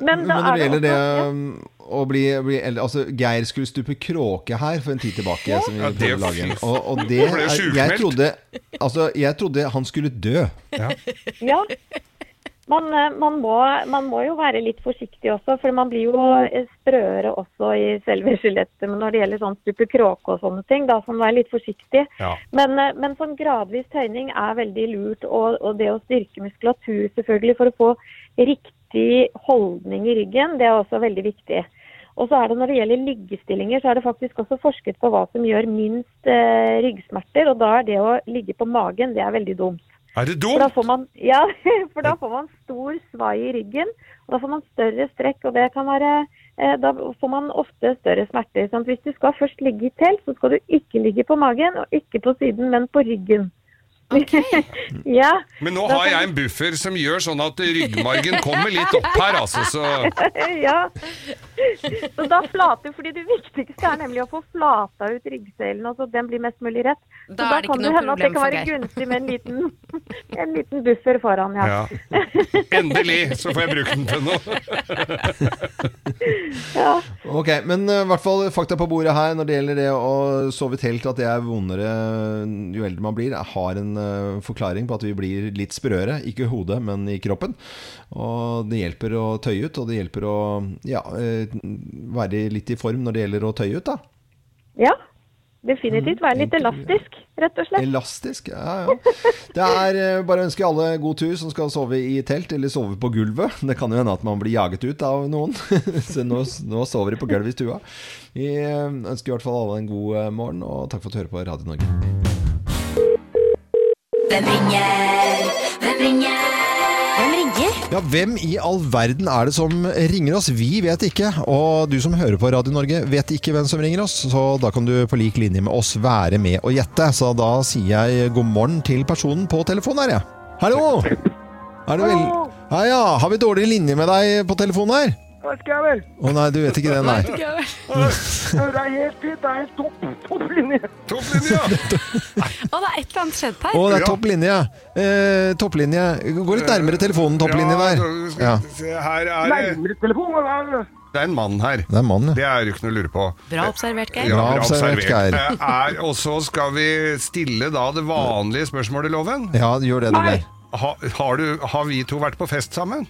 Men, da når det er gjelder det også- um, å bli, bli eldre altså, Geir skulle stupe kråke her for en tid tilbake. Som vi Ja, det prøvde å lage en. fy- og, og det ble jo er, jeg, sjukmeldt. trodde, altså, jeg trodde han skulle dø. Ja. Man, eh, man, må, man må jo være litt forsiktig også, for man blir jo eh, sprøere også i selve skjelettet. Men når det gjelder sånn stupe kråke og sånne ting, da får man være litt forsiktig. Ja. Men, eh, men sånn gradvis tøyning er veldig lurt, og, og det å styrke muskulatur selvfølgelig for å få riktig holdning i ryggen, det er også veldig viktig. Og så er det Når det gjelder liggestillinger, så er det faktisk også forsket på hva som gjør minst eh, ryggsmerter. og Da er det å ligge på magen det er veldig dumt. Er det For da dumt? får man, ja, for da får man stor svai i ryggen, og da får man større strekk, og det kan være eh, Da får man ofte større smerter. Sant? Hvis du skal først ligge i telt, så skal du ikke ligge på magen, og ikke på siden, men på ryggen. ja, Men nå har jeg en buffer som gjør sånn at ryggmargen kommer litt opp her, altså. Så eh, ja. Så da flater, fordi det viktigste er nemlig å få flata ut ryggselen, altså at den blir mest mulig rett. Så da Da er det ikke kan det noe hende at det problem kan for være Geir. gunstig med en liten, en liten buffer foran, ja. ja. Endelig så får jeg bruke den til noe. Ok, Men uh, i hvert fall fakta på bordet her når det gjelder det å sove i telt, at det er vondere eh, jo eldre man blir, har en uh, forklaring på at vi blir litt sprøere. Ikke i hodet, men i kroppen. Og det hjelper å tøye ut, og det hjelper å ja, uh, være litt i form når det gjelder å tøye ut, da. Ja, definitivt. Være litt elastisk, rett og slett. Elastisk, ja ja. Det er eh, bare å ønske alle god tur som skal sove i telt eller sove på gulvet. Det kan jo hende at man blir jaget ut av noen. Så nå, nå sover de på gulvet i stua. Vi eh, ønsker i hvert fall alle en god eh, morgen, og takk for at du hører på Radio Norge. Hvem ringer? Hvem ringer? Hvem ringer? Ja, hvem i all verden er det som ringer oss? Vi vet ikke, og du som hører på Radio Norge vet ikke hvem som ringer oss, så da kan du på lik linje med oss være med og gjette. Så da sier jeg god morgen til personen på telefonen her, jeg. Hallo! Er det vel... Ja, ja, har vi dårlig linje med deg på telefonen her? Hva skal jeg vel? Å nei, du vet ikke det, nei. Hører jeg helt fint? Det er helt topp, topp linje. Å, det er et eller annet skjedd her. Å, det er topp linje. Eh, topplinje. Gå litt nærmere telefonen, topplinje Ja, der. da skal vi Ja. se, Her er det Nærmere telefonen. er- Det er en mann her. Det er mannen, Det er jo ikke noe å lure på. Bra observert, Geir. Ja, Bra bra observert, observert. Geir. Eh, Er, og så skal vi stille da det vanlige spørsmålet, Loven. Ja, gjør det du Nei. der. Ha, har, du, har vi to vært på fest sammen?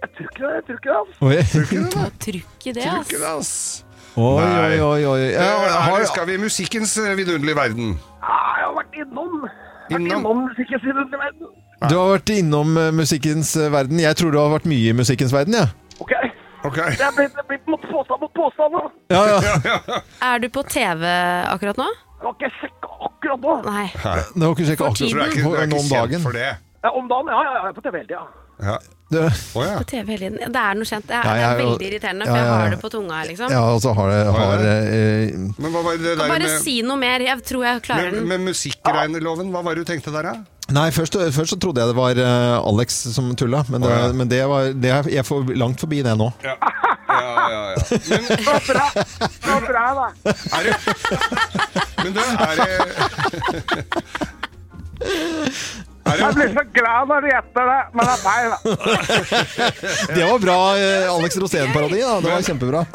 Jeg tror ikke det, jeg tror ikke det. altså. Oi, Å, trykk i det, ass. Ikke det, ass. oi, oi. oi, oi. Ja, Eh, har- her skal vi i musikkens eh, vidunderlige verden. Ah, Jeg har vært innom. Vært Innom? innom musikkens vidunderlige verden. Du har vært innom eh, musikkens eh, verden. Jeg tror du har vært mye i musikkens verden, jeg. Ok, Ok. det er blitt, det er blitt mot påstand mot påstand nå. Ja, ja. Er du på TV akkurat nå? Jeg har ikke sjekket akkurat nå. Nei. Det var ikke sikkert For Så du er akkurat ikke, du er nå ikke om kjent dagen. for det. Ja, Om dagen, ja, ja, ja, jeg er på TV hele tida. Ja. Du, Å ja. På TV hele tiden. Det er noe kjent. Det er, Ja, jeg er det er jo- veldig irriterende, Ja, for ja, jeg ja. har det på tunga, liksom. ja, altså har det har, eh, Men hva var det der Bare med, si noe mer. Jeg tror jeg klarer med, den. med musikkregneloven? Hva var det du tenkte der, da? Nei, først, først så trodde jeg det var eh, Alex som tulla, men det, Å, ja. men det var det er, Jeg er for langt forbi det nå. Ja, ja, ja. ja. Men, Håper jeg, håper jeg da. er det, men du, er det Er Jeg det blir så glad når du gjetter det, men det er feil, da. Det var bra eh, Alex Rosén-parodi, da. Det var kjempebra.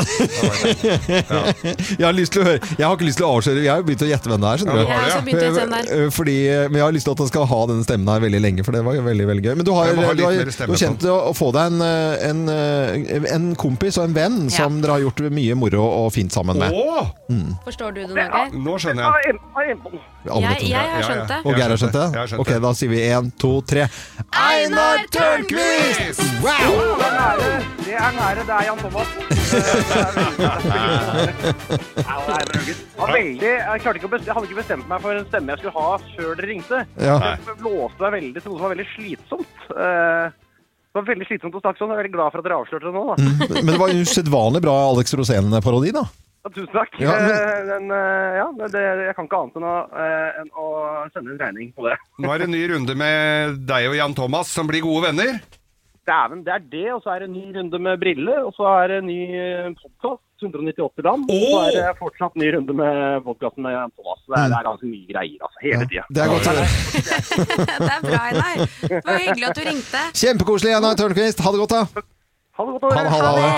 Jeg har lyst til å høre Jeg har ikke lyst til å avsløre Jeg har jo begynt å gjette hvem det er, skjønner du. Jeg har også begynt å gjette hvem det er. Eh, Fordi, men jeg har lyst til at han skal ha denne stemmen her veldig lenge, for det var jo veldig veldig gøy. Men du har, eh, Jeg må ha litt du har, mer stemme du har kjent på å få deg en, eh, en, eh, en kompis og en venn Ja. som dere har gjort mye moro og fint sammen med. Å! Forstår du det nå, Geir? Nå skjønner Jeg jeg. er inn- jeg er innom. Alle Jeg, to. jeg Ja, har ja. skjønt det. og Geir har skjønt Jeg har det? skjønt Ok, det. da sier vi én, to, tre. Einar Tørnquist! Wow! Det er nære, det er nære, det er Jan Thomas. Det er- det er veldig- det er veldig- Ja, det er veldig- det var veldig, jeg, klarte ikke å bes- jeg hadde ikke bestemt meg for en stemme jeg skulle ha før dere ringte. Ja. Jeg låste meg veldig til noe som var veldig slitsomt. Eh, Det var veldig slitsomt å snakke sånn. Jeg er veldig glad for at dere avslørte det nå. Da. Men det var en usedvanlig bra Alex Rosén-parodi, da. Ja, tusen takk. Ja, men- Eh, men, eh, ja, det, det, jeg kan ikke annet enn å, eh, enn å sende en regning på det. Nå er det en ny runde med deg og Jan Thomas, som blir gode venner. Dæven, det er det. Og så er det en ny runde med briller. Og så er det en ny podkast. 198 land. Og så Åh! er det fortsatt ny runde med podkasten med Jan Thomas. Det er, det er ganske mye greier, altså. Hele tida. Det er godt å høre. Det er bra, Einar. Det var hyggelig at du ringte. Kjempekoselig, Einar Tørnquist. Ha det godt, da. Ha det godt. Ha det, ha det, Ha ha det. det.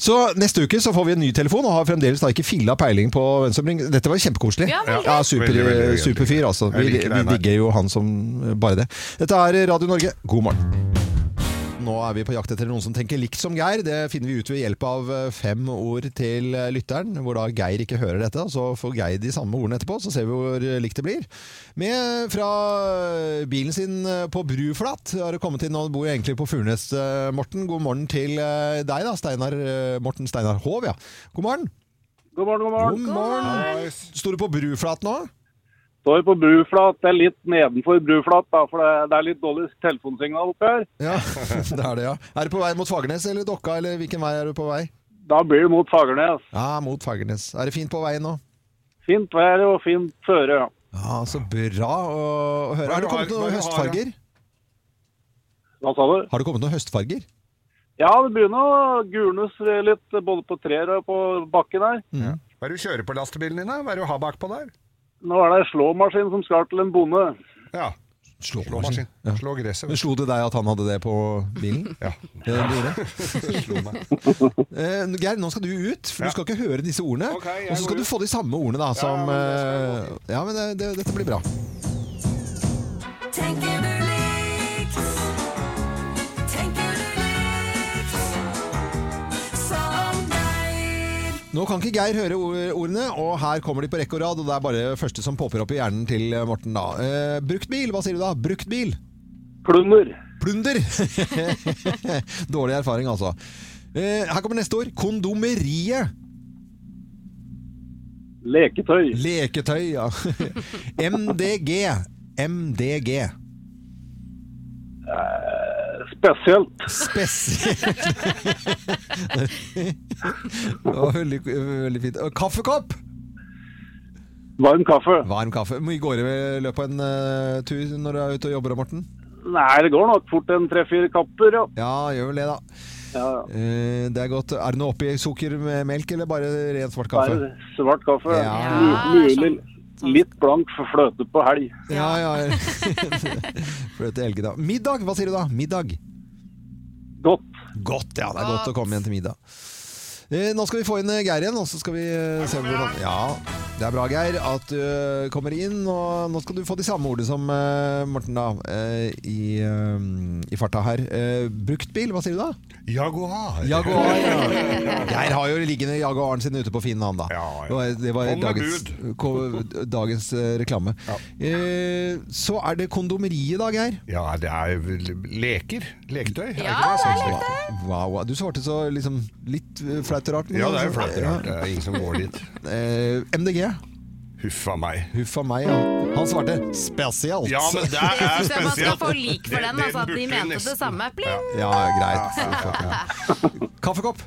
Så neste uke så får vi en ny telefon, og har fremdeles da ikke filla peiling på hvem som ringer. Dette var kjempekoselig. Ja, veldig. ja super, Veldig, veldig, veldig. Superfyr, altså. Jeg Vi, liker deg, vi Einar. digger jo han som bare det. Dette er Radio Norge, god morgen. Nå er vi på jakt etter noen som tenker likt som Geir. Det finner vi ut ved hjelp av eh, fem ord til eh, lytteren, hvor da Geir ikke hører dette. og Så får Geir de samme ordene etterpå, så ser vi hvor eh, likt det blir. Med fra eh, bilen sin på Bruflat har det kommet inn, og bor egentlig på Furnes, eh, Morten. God morgen til eh, deg, da, Steinar, eh, Morten Steinar Hov. Ja. God morgen. God morgen, god morgen. morgen. Står du på Bruflat nå? Står på Bruflat. Det er litt nedenfor Bruflat, da, for det, det er litt dårlig telefonsignal oppi her. Ja, det er det, ja. Er du på vei mot Fagernes eller Dokka, eller hvilken vei er du på vei? Da blir det mot Fagernes. Ja, mot Fagernes. Er det fint på veien nå? Fint vær og fint føre. Ja, så bra å å høre. Hva Har du har- det kommet hva noen du har, høstfarger? Hva sa du? Har det kommet noen høstfarger? Ja, det begynner å gulnes litt både på trær og på bakken her. Hva er det du kjører på lastebilen din, da? Hva er det du har bakpå der? Nå er det en slåmaskin som skal til en bonde. Ja, slåmaskin. Ja. Slå gresset. Men Slo det deg at han hadde det på bilen? Ja. Det du gjorde? Slå meg. Eh, Geir, nå skal du ut, Ja. for du skal ikke høre disse ordene. Ok, jeg og så går skal du ut. få de samme ordene, da, som men eh, Ja, men det, det, dette blir bra. Tenker du likt? Tenker du likt? Som Geir. Nå kan ikke Geir høre or- ordene, og her kommer de på rekke og rad, og det er bare første som popper opp i hjernen til eh, Morten, da. Eh, brukt bil, hva sier du da? Brukt bil? Klunder. Plunder! Dårlig erfaring, altså. Eh, her kommer neste ord. Kondomeriet. Leketøy. Leketøy, ja. MDG. MDG. Spesielt. Det var veldig, veldig fint. Og Kaffekopp! Varm kaffe. Varm kaffe. Hvor mye går det i løpet av en eh, tur når du er ute og jobber, da, Morten? Nei, det går nok fort en tre-fire kapper, ja. Ja, gjør vel det, da. ja, ja. Eh, det er godt. Er det noe oppi sukker med melk, eller bare ren svart Bare kaffe? svart kaffe. Ja. Mu- Mulig litt blank for fløte på helg. Ja, ja. Fløte elg, da. Middag, hva sier du da? Middag? Godt. Godt, ja. Det er godt å komme igjen til middag. Eh, Nå skal vi få inn eh, Geir igjen, og så skal vi eh, se om vi kan Ja, det er bra, Geir, at du eh, kommer inn. Og nå skal du få de samme ordene som eh, Morten, da, eh, i, eh, i farta her. Eh, Bruktbil, hva sier du da? Jaguar. Jaguar, ja. Geir har jo liggende Jaguaren sin ute på Finn, han da. Det var, det Kom var med dagens, ko- dagens eh, reklame. Eh, så er det kondomeriet i dag, Geir. Ja, det er vel leker. Leketøy. Ja, det Sånn er Wow, wow. Du svarte så liksom litt eh, flaut og rart. men Ja, det er jo altså- flaut og rart. Det er ingen som går dit. Eh, MDG. Huffa meg. Huffa meg, ja. Han svarte spesielt. Ja, men det Jeg synes jeg man skal få lik for den, altså at de mente det samme. Pling! Ja, greit. Kaffekopp?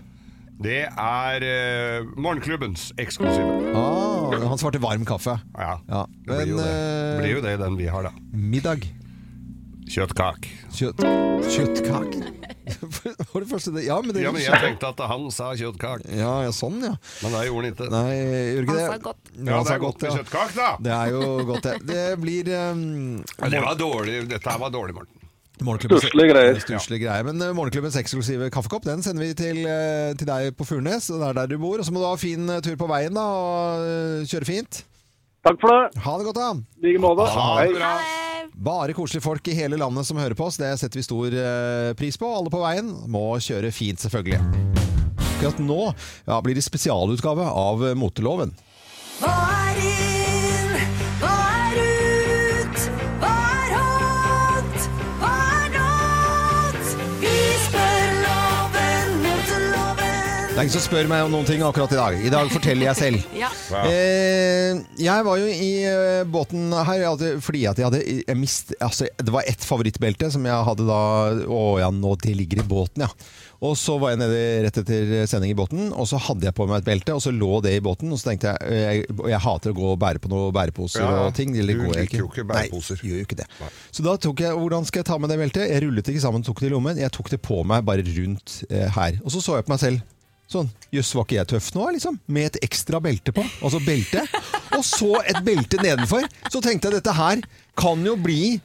Det er eh, morgenklubbens eksklusive. Ah, han svarte varm kaffe. Ja, det men, blir jo det. eh, Det blir jo det, den vi har, da. Middag. Kjøttkak. Kjøtt, kjøttkake. For det første det, ja, men det Ja, men jeg tenkte at han sa kjøttkak. Ja, ja, sånn, ja. Men det gjorde han ikke. Nei, gjorde ikke det. Han sa godt. Ja, Ja, han det sa er godt med ja. kjøttkak, da. Det er jo godt, det. Det blir um, Ja, Det var dårlig. Dette her var dårlig, Morten. Morgenklubbens- Stusslige greier. Stusslige greier. Men eh, Morgenklubbens eksklusive kaffekopp den sender vi til, eh, til deg på Furnes. og Det er der du bor. Og så må du ha fin eh, tur på veien da, og eh, kjøre fint. Takk for det. Ha det godt, da. I like måte. Ha det bra. Bare koselige folk i hele landet som hører på oss. Det setter vi stor eh, pris på. Alle på veien må kjøre fint, selvfølgelig. Akkurat nå ja, blir det spesialutgave av eh, moteloven. Hva er inn? Hva er ut? Hva er hot? Hva er not? Vi spør loven mot loven. Det er ingen som spør meg om noen ting akkurat i dag. I dag forteller jeg selv. Ja. Ja. Eh, jeg var jo i eh, båten her jeg hadde, fordi at jeg hadde jeg mist, altså, Det var ett favorittbelte som jeg hadde da Å ja, nå det ligger i båten, ja. Og så var jeg nede rett etter sending i båten, og så hadde jeg på meg et belte, og så lå det i båten, og så tenkte jeg eh, Jeg, og jeg hater å gå og bære på noen bæreposer Ja, og ting. Eller du går jeg liker jo ikke bæreposer. Nei, gjør jo ikke det. Så da tok jeg Hvordan skal jeg ta med det beltet? Jeg rullet det ikke sammen, tok det i lommen. Jeg tok det på meg bare rundt eh, her. Og så så jeg på meg selv. Sånn, jøss, var ikke jeg tøff nå, liksom? Med et ekstra belte på. Altså belte. Og så et belte nedenfor. Så tenkte jeg dette her kan jo bli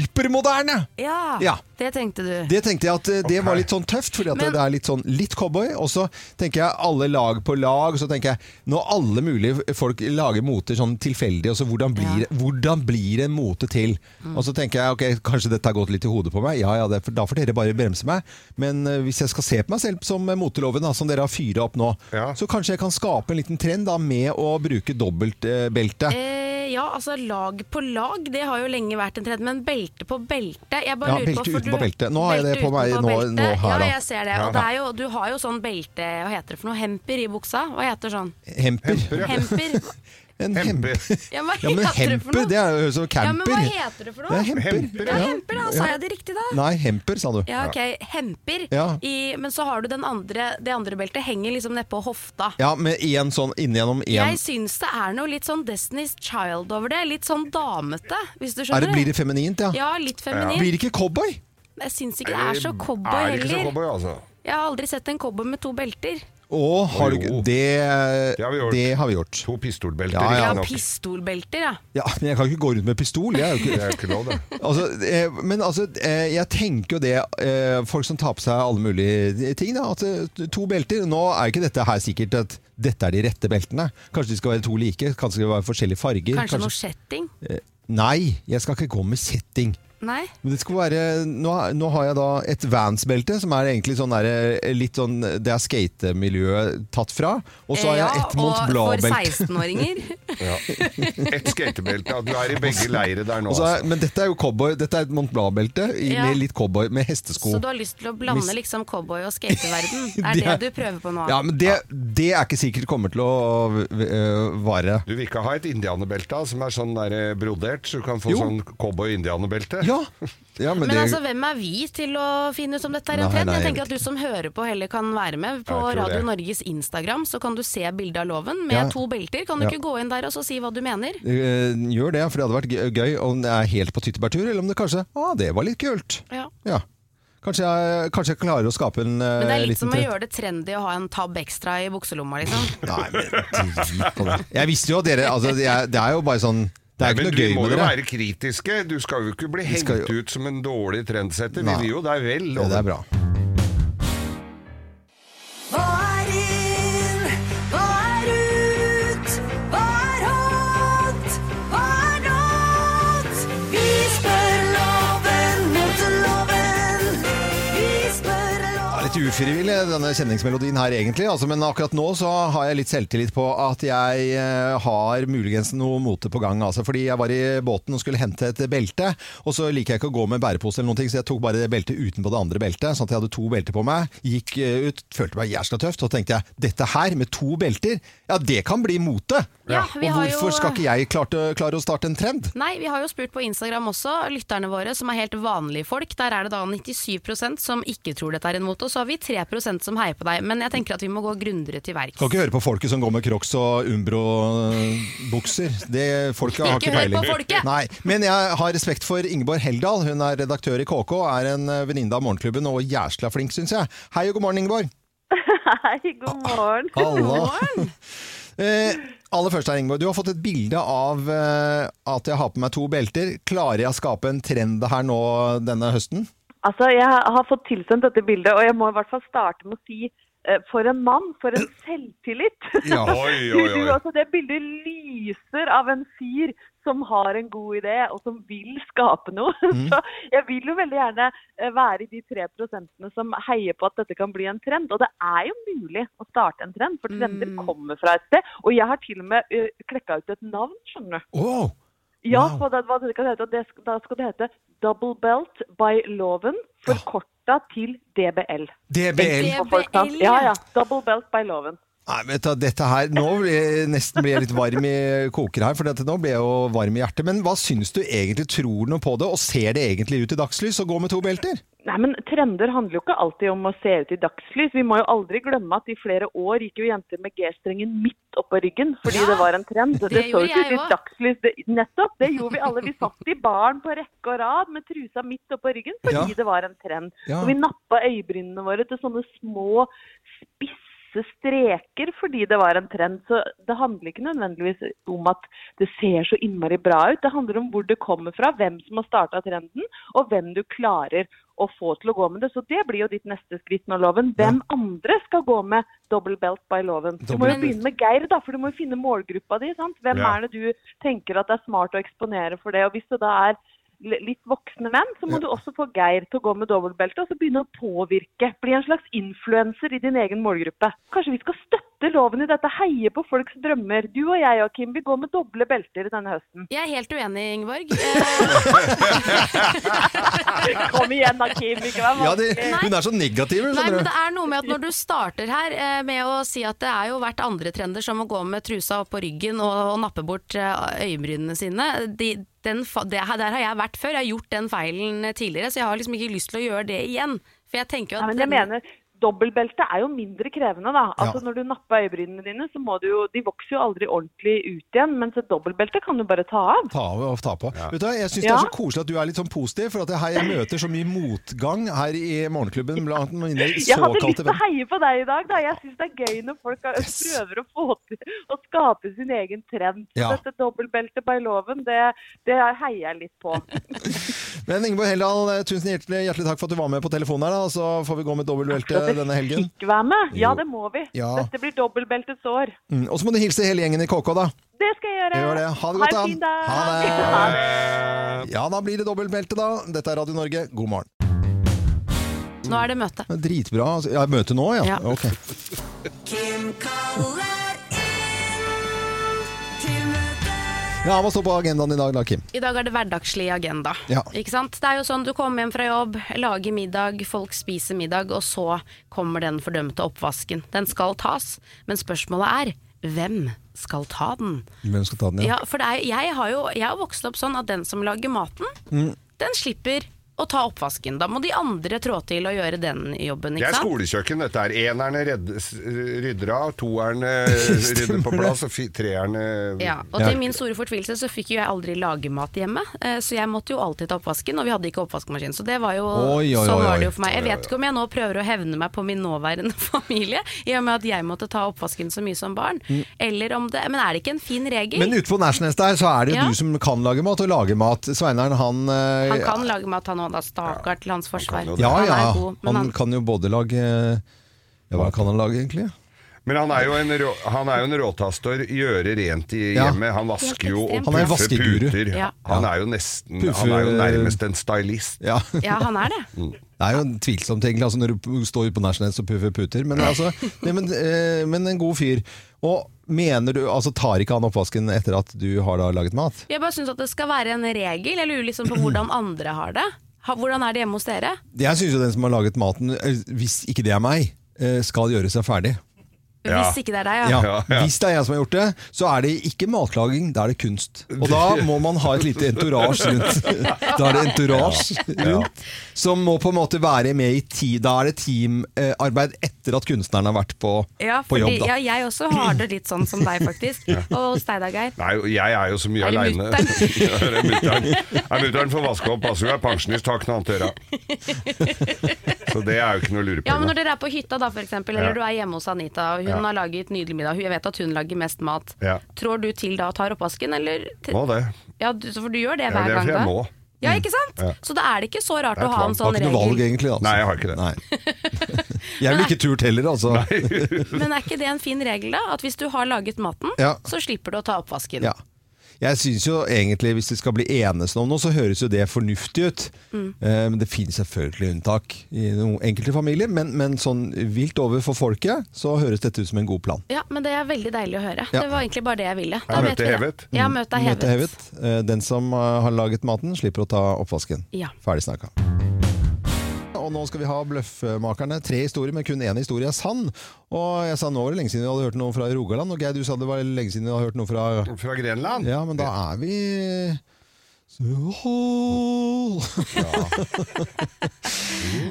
hypermoderne! Ja, Ja. det tenkte du. Det tenkte jeg at eh, det var litt sånn tøft, fordi at det er litt sånn litt cowboy. Og så tenker jeg alle lag på lag, så tenker jeg når alle mulige folk lager moter sånn tilfeldig, og så hvordan blir, hvordan blir en mote til? Mm. Og så tenker jeg ok, kanskje dette har gått litt i hodet på meg, ja ja, det, da får dere bare bremse meg. Men eh, hvis jeg skal se på meg selv som eh, moteloven, da, som dere har fyra opp nå, så kanskje jeg kan skape en liten trend da med å bruke dobbeltbelte. Eh, ja, altså lag på lag, det har jo lenge vært en trend, men belte på belte jeg bare Ja, lurer på, belte for utenpå du- belte. Nå har jeg belte det på meg utenpå nå- belte. nå her, da. Ja, jeg ser det. Ja. Og det er jo, du har jo sånn belte, hva heter det for noe, hemper i buksa? Hva heter sånn? Hemper. Hemper. En hemper. Ja, hva Ja, men heter det for hemper, noe? det er jo så camper. Ja, men hva heter det for noe? Det er hemper. Ja, hemper da, sa jeg det riktig da? Nei, hemper, sa du. Ja, ok, hemper. Ja. I, men så har du den andre, det andre beltet henger liksom ned på hofta. Ja, med én sånn innigjennom én. Jeg syns det er noe litt sånn Destiny's Child over det. Litt sånn damete, hvis du Er skjønner. det, blir det feminint, ja? Ja, litt feminint. Blir det ikke cowboy? Jeg syns ikke det er Ehm, så cowboy Er det heller. ikke så cowboy, altså? Jeg har aldri sett en cowboy med to belter. Å, har du ikke det, det har vi gjort. To pistolbelter. Ja, ja. Jeg har pistolbelter, ja. Ja, men jeg kan ikke gå rundt med pistol. Jeg er jo ikke, Det er jo ikke lov, det. Altså, eh, men altså, eh, jeg tenker jo det eh, Folk som tar på seg alle mulige ting, da. At eh, to belter Nå er ikke dette her sikkert at dette er de rette beltene. Kanskje de skal være to like. Kanskje det skal være forskjellige farger. Kanskje noe kjetting? Eh, Nei, jeg skal ikke gå med kjetting. Nei? Men det skal være, nå, nå har jeg da et Vans-belte, som er egentlig sånn der, eh, litt sånn Det er skatemiljøet tatt fra. Og så har Eh, jeg ja, et Mont og Blanc-belte. For 16-åringer. Ja. Et skatebelte. ja, Du er i begge leire der nå, Og så er- altså. Men dette er jo cowboy, dette er et Mont Blanc-belte i- Ja. med litt cowboy, med hestesko. Så du har lyst til å blande liksom cowboy og skateverden? Det Det er er- det du prøver på nå? Ja, men det, det er ikke sikkert kommer til å øh, vare. altså, Du vil ikke ha et indianerbelte da, som er sånn der eh, brodert, så du kan få Jo. sånn cowboy-indianerbelte? Ja, ja. ja Men, men det, altså, hvem er vi til å finne ut om dette er en Nei, trend? nei, Jeg tenker at du som hører på heller kan være med. På Ja, jeg tror Radio det. Norges Instagram så kan du se bilde av loven med Ja. to belter. Kan du Ja. ikke gå inn der og så si hva du mener? eh, gjør det, for det hadde vært gøy- gøy om det er helt på tyttebærtur, eller om det kanskje ah, det var litt kult. Ja. Ja. Kanskje, jeg, kanskje jeg klarer å skape en eh, Men det er litt liten som å trend. gjøre det trendy å ha en tab ekstra i bukselomma, liksom. Nei, men drit på det. Jeg visste jo at dere altså, det, er, det er jo bare sånn Det er Men ikke du noe gøy må med jo dere. være kritiske. Du skal jo ikke bli Vi hengt skal ut som en dårlig trendsetter. Nei. Vi vil jo deg vel. Ja, det er bra. Hva er inn? Hva er ut? Hva er hot? Hva er not? Vi spør loven mot loven. Vi spør Ja, litt ufrivillig, denne kjenningsmelodien her egentlig. Altså, men akkurat nå så har jeg litt selvtillit på at jeg eh, har muligens noe mote på gang. Altså, fordi jeg var i båten og skulle hente et belte, og så liker jeg ikke å gå med bærepose eller noen ting, så jeg tok bare det beltet utenpå det andre beltet, sånn at jeg hadde to belter på meg. Gikk eh, ut, følte meg jævla tøft, og tenkte jeg, dette her med to belter, ja det kan bli mote! Ja, vi og har jo- hvorfor skal ikke jeg klarte, klare å starte en trend? Nei, vi har jo spurt på Instagram også, lytterne våre som er helt vanlige folk. Der er det da 97 som ikke tror dette er en mote, og så har vi 3 som heier på deg. Men jeg tenker at vi må gå grundigere til verks. Skal ikke høre på folket som går med crocs og Umbro-bukser. Det folket har Ikke ikke hør peiling. på folket! Nei, men jeg har respekt for Ingeborg Heldal. Hun er redaktør i KK, er en eh, venninne av Morgenklubben og jæsla flink, syns jeg. Hei og god morgen, Ingeborg. Hei, god morgen. Halla. Eh, aller først her, Ingeborg. Du har fått et bilde av eh, at jeg har på meg to belter. Klarer jeg å skape en trend her nå denne høsten? Altså, jeg har fått tilsendt dette bildet, og jeg må i hvert fall starte med å si eh, for en mann, for en selvtillit. Ja, oi, oi, oi. Du, altså, det bildet lyser av en fyr som har en god idé, og som vil skape noe. Mm. Så jeg vil jo veldig gjerne eh, være i de tre prosentene som heier på at dette kan bli en trend. Og det er jo mulig å starte en trend, for trender kommer fra et sted. Og jeg har til og med uh, klekka ut et navn, skjønner du. Oh, Ja, for det, hva det skal hete, og det, sk- da skal det hete Double Belt by Loven, forkorta til DBL. DBL. For folk, sant? DBL, Ja, ja. ja. Double Belt by Loven. Nei, vet du, dette her, Nå blir jeg nesten blir jeg litt varm i koker her, for dette, nå blir jeg jo varm i hjertet. Men hva syns du egentlig? Tror du noe på det, og ser det egentlig ut i dagslys å gå med to belter? Nei, men Trender handler jo ikke alltid om å se ut i dagslys. Vi må jo aldri glemme at i flere år gikk jo jenter med G-strengen midt oppå ryggen fordi det var en trend. Det Det, gjorde så jo ikke jeg ut i også. dagslys. Det, nettopp, det gjorde vi alle. Vi satt i baren på rekke og rad med trusa midt oppå ryggen fordi Ja. det var en trend. Ja. Og vi nappa øyebrynene våre til sånne små, spisse streker fordi det var en trend. Så det handler ikke nødvendigvis om at det ser så innmari bra ut. Det handler om hvor det kommer fra, hvem som har starta trenden, og hvem du klarer å få til å gå med det. Så det blir jo ditt neste skritt nå, Loven. Hvem andre skal gå med double belt by Loven? Du må Double jo belt. begynne med Geir, da, for du må jo finne målgruppa di. sant? Hvem Ja. er det du tenker at det er smart å eksponere for det? Og hvis det da er l- litt voksne menn, så må du også få Geir til å gå med dobbeltbelte og så begynne å påvirke. Bli en slags influenser i din egen målgruppe. Kanskje vi skal støtte loven i dette, heie på folks drømmer. Du og jeg, Joakim, vi går med doble belter denne høsten. Jeg er helt uenig, Eh, Ingeborg. Kom igjen da, Kim. Ikke vær Ja, det, hun er så negativ, Nei, skjønner men det du. er noe med at når du starter her eh, med å si at det er jo vært andre trender som å gå med trusa opp på ryggen og, og nappe bort eh, øyebrynene sine, de, den, fa- det, her- der har jeg vært før. Jeg har gjort den feilen tidligere, så jeg har liksom ikke lyst til å gjøre det igjen. For jeg tenker jo Nei, at men jeg mener, dobbeltbelte er jo mindre krevende, da. Altså, Når du napper øyebrynene dine, så må du jo De vokser jo aldri ordentlig ut igjen, mens et dobbeltbelte kan du bare ta av. Ta av og ta på. Vet du, hva, jeg syns det Ja. er så koselig at du er litt sånn positiv, for at jeg, her jeg møter så mye motgang her i Morgenklubben blant mine Jeg hadde lyst såkalte til å venner. heie på deg i dag. Da. Jeg syns det er gøy når folk har- prøver å få til å skape sin egen trend. Ja. Dette dobbeltbeltet by loven, det, det heier jeg litt på. Men Ingeborg Heldal, eh, tusen hjertelig, hjertelig takk for at du var med på telefonen her, da, og så får vi gå med dobbeltbelte At denne helgen. Fikk være med. Ja, Jo. det må vi. Ja. Dette blir dobbeltbeltets år. Mm, og så må du hilse hele gjengen i KK, da. Det skal jeg gjøre. Gjør det. Ha det godt, Ha da. en fin dag. Ha det. Ja, da blir det dobbeltbelte, da. Dette er Radio Norge, god morgen. Nå er det møte. Dritbra. Ja, møte nå, ja? Ja. Ok. Kim kaller inn til Ja, Hva står på agendaen i dag, da, Kim? I dag er det hverdagslig agenda. Ja. Ikke sant? Det er jo sånn du kommer hjem fra jobb, lager middag, folk spiser middag, og så kommer den fordømte oppvasken. Den skal tas, men spørsmålet er hvem skal ta den? Hvem skal ta den Ja, for det er, jeg har jo jeg har vokst opp sånn at den som lager maten, Mm. den slipper å ta oppvasken. Da må de andre trå til og gjøre den jobben. Det Ikke er sant? skolekjøkken, dette her. Enerne redde- s- rydder av, toerne rydder på plass, og fi- treerne Ja, og til min store fortvilelse så fikk jo jeg aldri lage mat hjemme, eh, så jeg måtte jo alltid ta oppvasken, og vi hadde ikke oppvaskmaskin. Så det var jo Oi, oi, sånn oi, var oi. det jo for meg. Jeg Oi, oi, vet ikke om jeg nå prøver å hevne meg på min nåværende familie, i og med at jeg måtte ta oppvasken så mye som barn. Mm. Eller om det Men er det ikke en fin regel? Men ute på Nashnes der, så er det jo Ja. du som kan lage mat og lage mat. Sveinaren, han eh, Han kan lage mat, han òg, da. Stakkar til hans forsvar. Ja, ja. Han er god, men Han, han kan jo både lage eh, Ja, hva kan han lage, egentlig? Men han er jo en, rå, han er jo en råtastor, gjøre rent i Ja. hjemmet. Han vasker jo og Han er en puffer vaskeguru. puter. Ja. Han er jo nesten Han Puffer- er jo nærmest en stylist. Ja. Ja, han er det. Det er jo tvilsomt, egentlig, altså, når du står ute på Nashnes og puffer puter. Men, altså, nei, men, eh, men en god fyr. Og mener du Altså, tar ikke han oppvasken etter at du har da laget mat? Jeg bare syns at det skal være en regel. Jeg lurer liksom på hvordan andre har det. Ha- Hvordan er det hjemme hos dere? Jeg syns jo den som har laget maten, eh, hvis ikke det er meg, eh, skal gjøre seg ferdig. Hvis ikke det er deg, ja. Ja. Hvis det er jeg som har gjort det, så er det ikke matlaging, da er det kunst. Og da må man ha et lite entourage rundt. Da er det entourage Ja. rundt som må på en måte være med i ti. Da er det teamarbeid etter at kunstneren har vært på, Ja, på fordi, jobb. Da. ja, jeg også har det litt sånn som deg, faktisk. Og hos deg da, Geir. Nei, jeg er jo så mye Er det aleine. mutteren? Mutter'n får vaske opp, altså. Hun er pensjonist, har knantøra. Så det er jo ikke noe å lure på. Ja, men Når dere er på hytta, da, for eksempel, Ja. eller du er hjemme hos Anita og hun Ja. har laget nydelig middag, jeg vet at hun lager mest mat, Ja. trår du til da og tar oppvasken, eller? til- Må det. Ja, du, for du gjør Ja, det hver det er gang, fordi jeg da. må. Mm. Ja, ikke sant? Ja. Så da er det ikke så rart Det er å ha en tvang. sånn Har ikke noe regel. valg, egentlig. Altså. Nei, jeg har ikke det. Jeg ville ikke turt heller, altså. Men er ikke det en fin regel, da? At hvis du har laget maten, Ja. så slipper du å ta oppvasken. Ja. Jeg syns jo egentlig, hvis det skal bli enes om noe, så høres jo det fornuftig ut. Mm. Eh, Men det finnes selvfølgelig unntak i noen enkelte familier, men, men sånn vilt over for folket, så høres dette ut som en god plan. Ja, men det er veldig deilig å høre. Ja. Det var egentlig bare det jeg ville. Er Da vet møtet vi det. hevet? Ja, møtet er Møtet hevet. Mm. er hevet. Eh, Den som eh, har laget maten, slipper å ta oppvasken. Ja. Ferdig snakka. Og nå skal vi ha Bløffmakerne. Tre historier, men kun én historie er sann. Og jeg sa nå var det lenge siden vi hadde hørt noe fra Rogaland, og Geir, du sa det var lenge siden vi hadde hørt noe fra Fra Grenland? Ja, men da er vi Søhol!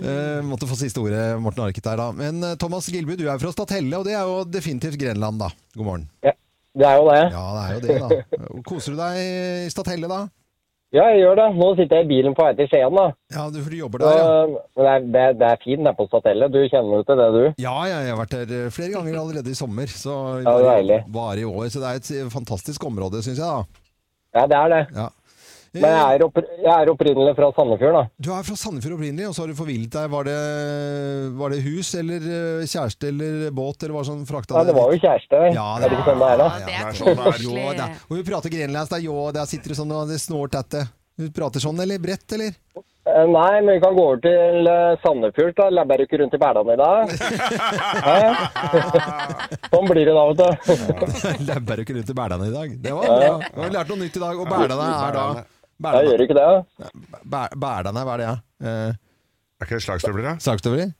Eh, måtte få siste ordet, Morten Arket der, da. Men eh, Thomas Gilby, du er fra Stathelle, og det er jo definitivt Grenland, da. God morgen. Det er jo det. Ja, det er jo det, da. Koser du deg i Stathelle, da? Ja, jeg gjør det. Nå sitter jeg i bilen på vei til Skien, da. Ja, du, for du jobber Så, der, ja. men det, er, det, er- det er fint der på Statellet. Du kjenner jo til det, du. Ja, ja, jeg har vært der flere ganger allerede i sommer. Så Ja, det er deilig. bare i år. Så det er et fantastisk område, syns jeg, da. Ja, det er det. Ja. Men jeg er, oppr jeg er opprinnelig fra Sandefjord, da. Du er fra Sandefjord opprinnelig, og så har du forvillet deg. Var det, var det hus eller eh, kjæreste eller båt eller hva som frakta Nei, det var jo kjæreste. Ja, Er det ikke sånn det er, da? Ja, Ja, det det er er sånn det er. koselig. Jo, det er. Og vi prater grenlands, da. Jo, der sitter du sånn og det snår tette. Du prater sånn, eller? Bredt, eller? Eh, Nei, men vi kan gå over til eh, Sandefjord, da. Labber du ikke rundt i hverdagen i dag? Hæ? sånn blir det da, vet du. Labber du ikke rundt i Berdane i dag? Det var Ja, bra. ja. Vi har lært noe nytt i dag. Og Berdane er da Nei, Jeg gjør ikke det. Ber- Berdane, hva er det? Eh, Er ikke det slagstøvler, da? Slagstøvler?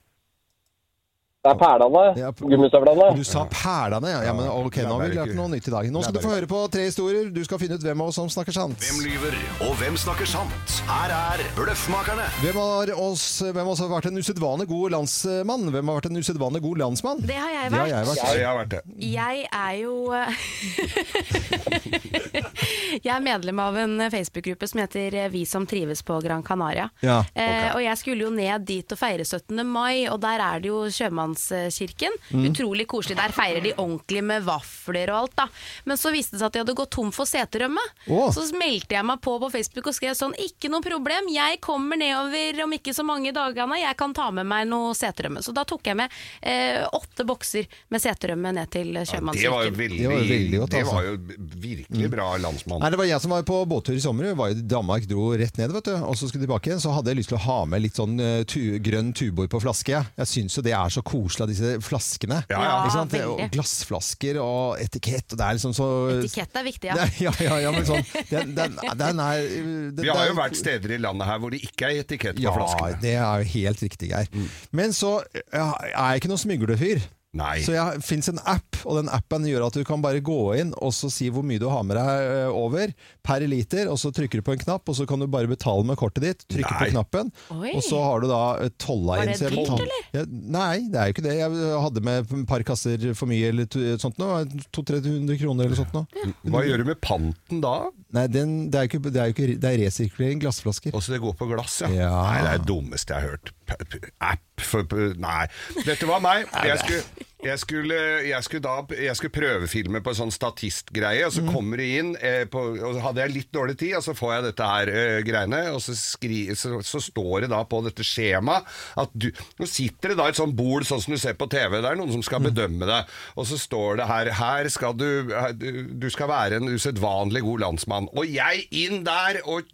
Det er perlene. Gummistøvlene. Du sa perlene, ja. ja men ok, nå har vi lært noe nytt i dag. Nå skal du få høre på tre historier. Du skal finne ut hvem av oss som snakker sant. Hvem lyver, og hvem snakker sant? Her er Bløffmakerne. Hvem av oss, hvem av oss har vært en usedvanlig god landsmann? Hvem har vært en usedvanlig god landsmann? Det har jeg Det vært. har jeg vært. Ja, jeg har vært det. Jeg er jo eh, Jeg er medlem av en Facebook-gruppe som heter eh, Vi som trives på Gran Canaria. Ja, Eh, og jeg skulle jo ned dit og feire 17. mai, og der er det jo sjømannskirken. Mm. Utrolig koselig. Der feirer de ordentlig med vafler og alt, da. Men så viste det seg at de hadde gått tom for seterømme. Åh. Så meldte jeg meg på på Facebook og skrev sånn Ikke noe problem, jeg kommer nedover om ikke så mange dagene, jeg kan ta med meg noe seterømme. Så da tok jeg med eh, åtte bokser med seterømme ned til sjømannskirken. Det var jo veldig, Det var jo veldig godt, det altså. Mm. var jo virkelig bra landsmann. Nei, det var jeg som var på båttur i sommer. Jeg var i Danmark, dro rett ned, vet du. Og så skulle jeg tilbake igjen. Så hadde jeg lyst til å ha med litt sånn eh, tu grønn tubor på flaske. jeg. Jeg syns jo det er så koselig av disse flaskene. ja. Ikke sant? Ja, veldig. Og glassflasker og etikett, og det er liksom så Etikett er viktig, ja. Nei, ja, ja, ja, men sånn Den, den, den er den, Vi har jo den- vært steder i landet her hvor det ikke er etikett på Ja, flaskene. Mm. det er jo helt riktig, Geir. Men så ja, er jeg ikke noen smyglefyr. Nei. Så det fins en app, og den appen gjør at du kan bare gå inn og så si hvor mye du har med deg eh, over per liter, og så trykker du på en knapp, og så kan du bare betale med kortet ditt, trykke på knappen, Oi. og så har du da eh, tolla Var inn. det så jeg dyrt, betal- eller? Ja, nei, det er jo ikke det. Jeg eh, hadde med et par kasser for mye eller to, sånt noe. 200-300 kroner eller sånt noe. Hva gjør du med panten da? Nei, den, det, er jo ikke, det er jo ikke det er resirkulering glassflasker. Og så det går på glass, ja. Nei, det er det dummeste jeg har hørt. P- p- App for p- Nei. Dette var meg. Jeg skulle, jeg skulle, jeg skulle, da, jeg skulle prøvefilme på en sånn statistgreie, og så kommer det inn eh, på, Og så hadde jeg litt dårlig tid, og så får jeg dette her eh, greiene, og så, skri, så, så står det da på dette skjemaet at du Nå sitter det da et sånt bol, sånn som du ser på TV, det er noen som skal bedømme deg, og så står det her Her skal du her- du- Du skal være en usedvanlig god landsmann. Og jeg inn der og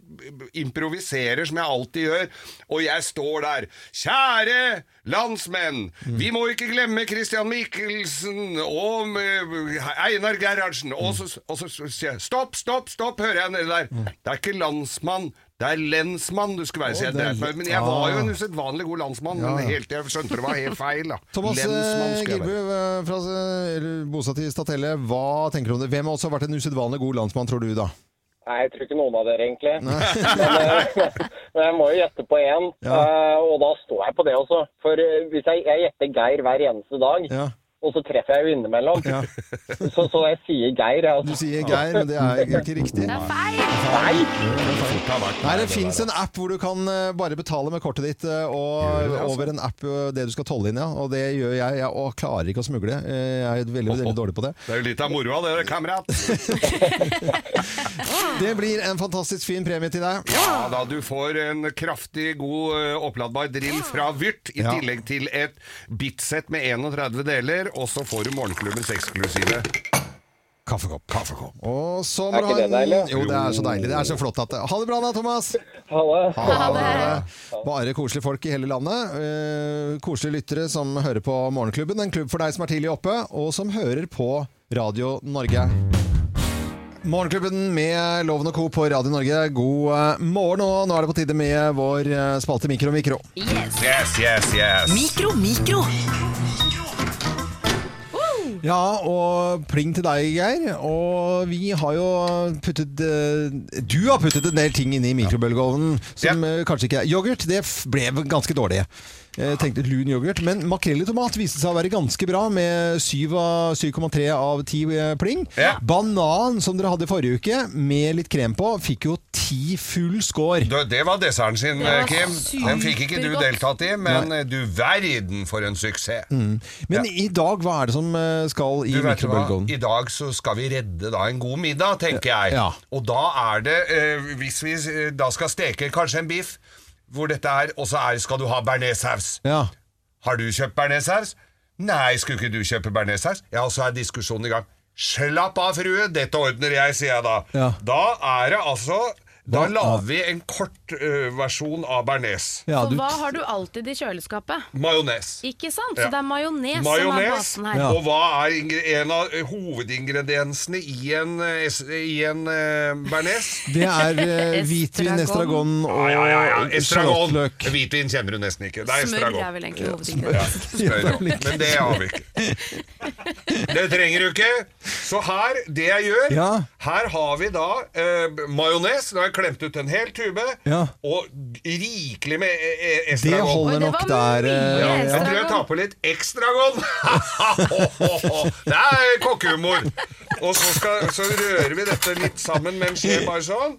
improviserer som jeg alltid gjør, og jeg står der. Kjære landsmenn! Vi må ikke glemme Christian Michelsen og eh, Einar Gerhardsen. Og så, og så sier jeg stopp, stopp, stopp, hører jeg nede der. Det er ikke landsmann. Det er lensmann du skulle være, sier jeg. det er dreit meg ut, Men jeg var jo en usedvanlig god landsmann, Ah. Ja, men ja. helt til jeg skjønte det var helt feil, da. Thomas Lensmann eh, skulle jeg Gilbu, være. eh, fra, eh, eller bosatt i Statelle, hva tenker du om det? Hvem har også vært en usedvanlig god landsmann, tror du, da? Nei, jeg tror ikke noen av dere, egentlig. Men, eh, men jeg må jo gjette på én, eh, og da står jeg på det også. For eh, hvis jeg, jeg gjetter Geir hver eneste dag, og så treffer jeg jo innimellom. Så, så jeg sier Geir. jeg, Altså. Du sier Geir, men det er ikke riktig. Det er feil! Nei, det fins en app hvor du kan eh, bare betale med kortet ditt eh, og altså? over en app eh, det du skal tolle inn, ja. Og det gjør jeg. Jeg og klarer ikke å smugle. Eh, Jeg er veldig, veldig dårlig på det. Det er jo litt av moroa, det, der, kamerat. Det blir en fantastisk fin premie til deg. Ja da, du får en kraftig, god eh, oppladbar drill fra Vyrt, i Ja. tillegg til et bitsett med 31 deler, og så får du morgenklubbens eksklusive kaffekopp. kaffekopp. Og så Er må du ikke ha det en- deilig? Jo, det er så deilig. Det er så flott at det Ha det bra da, Thomas! Ha det. Bare koselige folk i hele landet. Eh, koselige lyttere som hører på Morgenklubben. En klubb for deg som er tidlig oppe, og som hører på Radio Norge. Morgenklubben med Loven og Co. på Radio Norge, god eh, morgen. Og nå er det på tide med vår eh, spalte Mikro Mikro. Yes, yes, yes. Mikro, mikro. Ja, og pling til deg, Geir. Og vi har jo puttet eh, Du har puttet en del ting inn i mikrobølgeovnen som eh, kanskje ikke er Yoghurt det f- ble vel ganske dårlig. Jeg tenkte lun yoghurt, men makrell i tomat viste seg å være ganske bra, med syv av- 7,3 av 10 eh, pling. Banan, som dere hadde i forrige uke, med litt krem på, fikk jo ti full score. Du, det var desserten sin, Det var eh, Kim. Den fikk ikke du supergodt. deltatt i, men eh, du verden for en suksess. Mm. Men i dag, hva er det som eh, skal i Du vet hva, mikrobølgeovnen? I dag så skal vi redde da en god middag, tenker jeg. Ja. Og da er det, eh, hvis vi eh, da skal steke kanskje en biff, hvor dette er, og så er, skal du ha bearnéssaus. Ja. Har du kjøpt bearnéssaus? Nei, skulle ikke du kjøpe bearnéssaus? Ja, og så er diskusjonen i gang. Slapp av, frue, dette ordner jeg, sier jeg da. Ja. Da er det altså Da Hva- lager vi en kort eh, versjon av bearnés. Så hva har du alltid i kjøleskapet? Majones. Ikke sant? Ja. Så det er majones som er Majones. basen her. Og hva er ingre- en av eh, hovedingrediensene i en, eh, es- i en eh, bearnés? Det er eh, hvitvin, estragon og Ja, ja, ja. Estragon. sjalottløk. Hvitvin kjenner du nesten ikke. Det er Smør estragon. er vel egentlig Ja, smør, hovedingrediensen. ja. Ja, det er vel Smør, ja. ikke- Men det har vi ikke. Det trenger du ikke. Så her, det jeg gjør Ja. Her har vi da eh, majones. Nå har jeg klemt ut en hel tube. Ja. Og rikelig med eh, eh, Det estragon. holder nok der. eh, Ja, ja. jeg tror jeg tar på litt ekstragon. det er kokkehumor. Og så, skal, så rører vi dette litt sammen med en skje, bare sånn.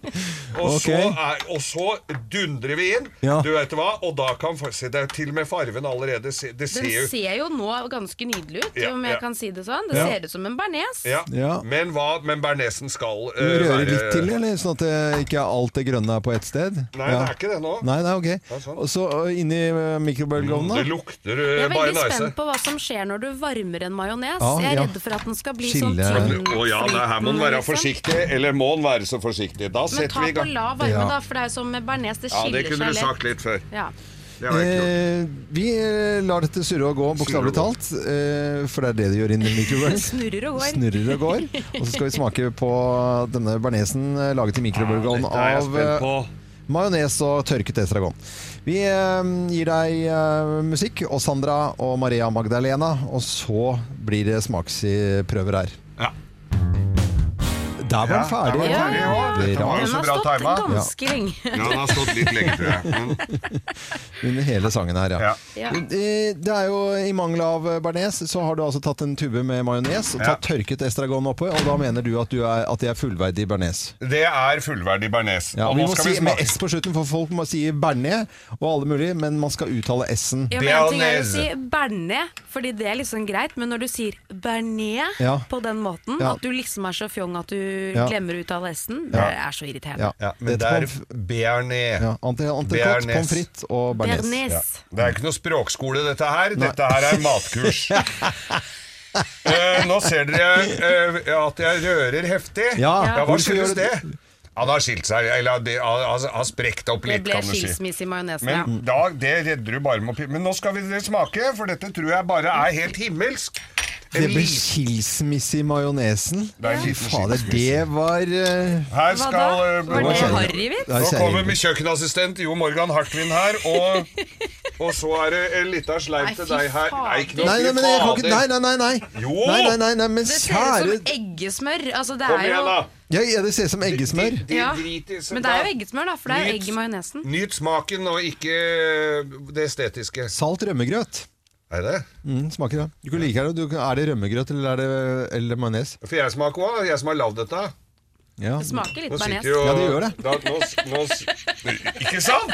Og, Ok. så er, og så dundrer vi inn, Ja. du vet hva, og da kan folk se Det er til og med farven allerede. se- Det ser Den jo ser jo nå ganske nydelig ut, Ja, om ja. jeg kan si det sånn. Det Ja. ser ut som en bearnés. ja. Men hva Men bearnesen skal Du eh, rører være- litt til, eller? Sånn at eh, ikke alt det grønne er på ett sted? Nei, det er ikke det nå. Nei, nei, Det er ok. sånn. Og så eh, inni eh, mikrobølgeovnen, da? Det lukter Jeg eh, er bare veldig nice. spent på hva som skjer når du varmer en majones. Ja, jeg er ja. redd for at den skal bli sånn Skille tynn. Å ja, nei, her må en være liksom. forsiktig. Eller må en være så forsiktig? Da Men setter ta vi i på gang. lav varme, da, for det er jo som med bearnés, det Ja, skiller det kunne du seg sagt litt før. Ja. Det har jeg ikke gjort. Eh, vi eh, lar dette surre og gå, bokstavelig talt. Eh, for det er det det gjør inni mikrobølgen. Snurrer og går. Snurrer og går. Og så skal vi smake på denne bearnesen eh, laget i mikrobølgeovnen dette er jeg av eh, spent på. majones og tørket estragon. Vi eh, gir deg eh, musikk og Sandra og Maria Magdalena, og så blir det smaksprøver her. Ja. Der var den ferdig. den ferdig, ja. Dette var jo så bra timet. Ja. Ja, den har stått litt lenge, tror jeg. Men Under hele sangen her, ja. Ja. Eh, Det er jo I mangel av eh, bearnés så har du altså tatt en tube med majones og tatt tørket estragon oppå, og da mener du at, du er, at det er fullverdig bearnés. det er fullverdig bearnés. Ja, og vi nå må skal si vi med smake. S på slutten, for folk må si bearnés og alle mulig, men man skal uttale S-en. Ja, men en ting er å si bearnés, fordi det er liksom greit, men når du sier bearnés Ja. på den måten, Ja. at du liksom er så fjong at du Ja. glemmer ut all S-en, Ja. det er så irriterende. Ja, men det er bearnés. Ja, ante- Entrecôte, Bearnés. pommes frites og bearnés. Bearnés. Ja. Det er ikke noe språkskole, dette her. Dette her er matkurs. Eh, nå ser dere eh, at jeg rører heftig. Ja, hva hvorfor skyldes gjør du det? det? Han har skilt seg, eller det- han har- har sprekt opp Det litt, ble kan du si. skilsmisse i majonesen, ja. Men da, det redder du bare med å pi- Men nå skal vi dere smake, for dette tror jeg bare er helt himmelsk. En Det ble liten- skilsmisse i majonesen. Det er en liten Fader, det var eh, Her skal eh, Det er Nå kommer kjerringvits. min kjøkkenassistent Jo Morgan Hartvin her, og, og så er det en liten sleip til deg her. Nei, ikke noe Nei, nei, fy men jeg kan ikke, nei, fader. nei, nei, nei. Jo! Nei, nei, nei, nei, men det ser kjære ut som eggesmør. Altså, det Kom er jo, igjen, da. ja, ja, det ser ut som eggesmør. Ja. drit i- så Men det er da- jo eggesmør, da, for det er Nyt- egg i majonesen. Nyt smaken og ikke eh, det estetiske. Salt rømmegrøt. Er det? Mm, smaker det. Du kan like det. Du, kan- er det rømmegrøt eller er det, eller majones? For jeg smaker òg, jeg som har lagd dette. Ja. Nå sitter jo- Ja, det gjør det. Da, nå, s- nå, s- ikke sant?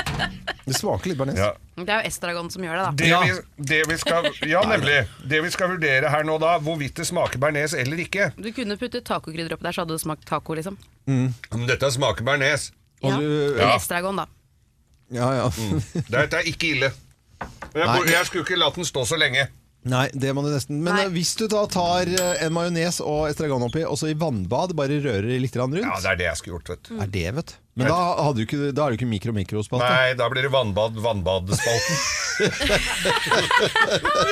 Det smaker litt bearnés. Det er jo estragon som gjør det, da. Det, vi, det vi skal Ja, nemlig. Det vi skal vurdere her nå, da, hvorvidt det smaker bearnés eller ikke. Du kunne puttet tacokrydder oppi der, så hadde det smakt taco, liksom. Men dette smaker bearnés. Ja. Eller Ja. estragon, da. Mm. Dette er ikke ille. Men Nei. jeg, jeg skulle ikke latt den stå så lenge. Nei, det må du nesten. Men eh, hvis du da tar eh, en majones og estragon oppi, og så i vannbad, bare rører litt grann rundt Ja, det er det jeg skulle gjort, vet du. Er det, vet du. Men da, hadde du ikke, da er det ikke mikro-mikrospalte. Nei, da blir det vannbad, vannbadspalten.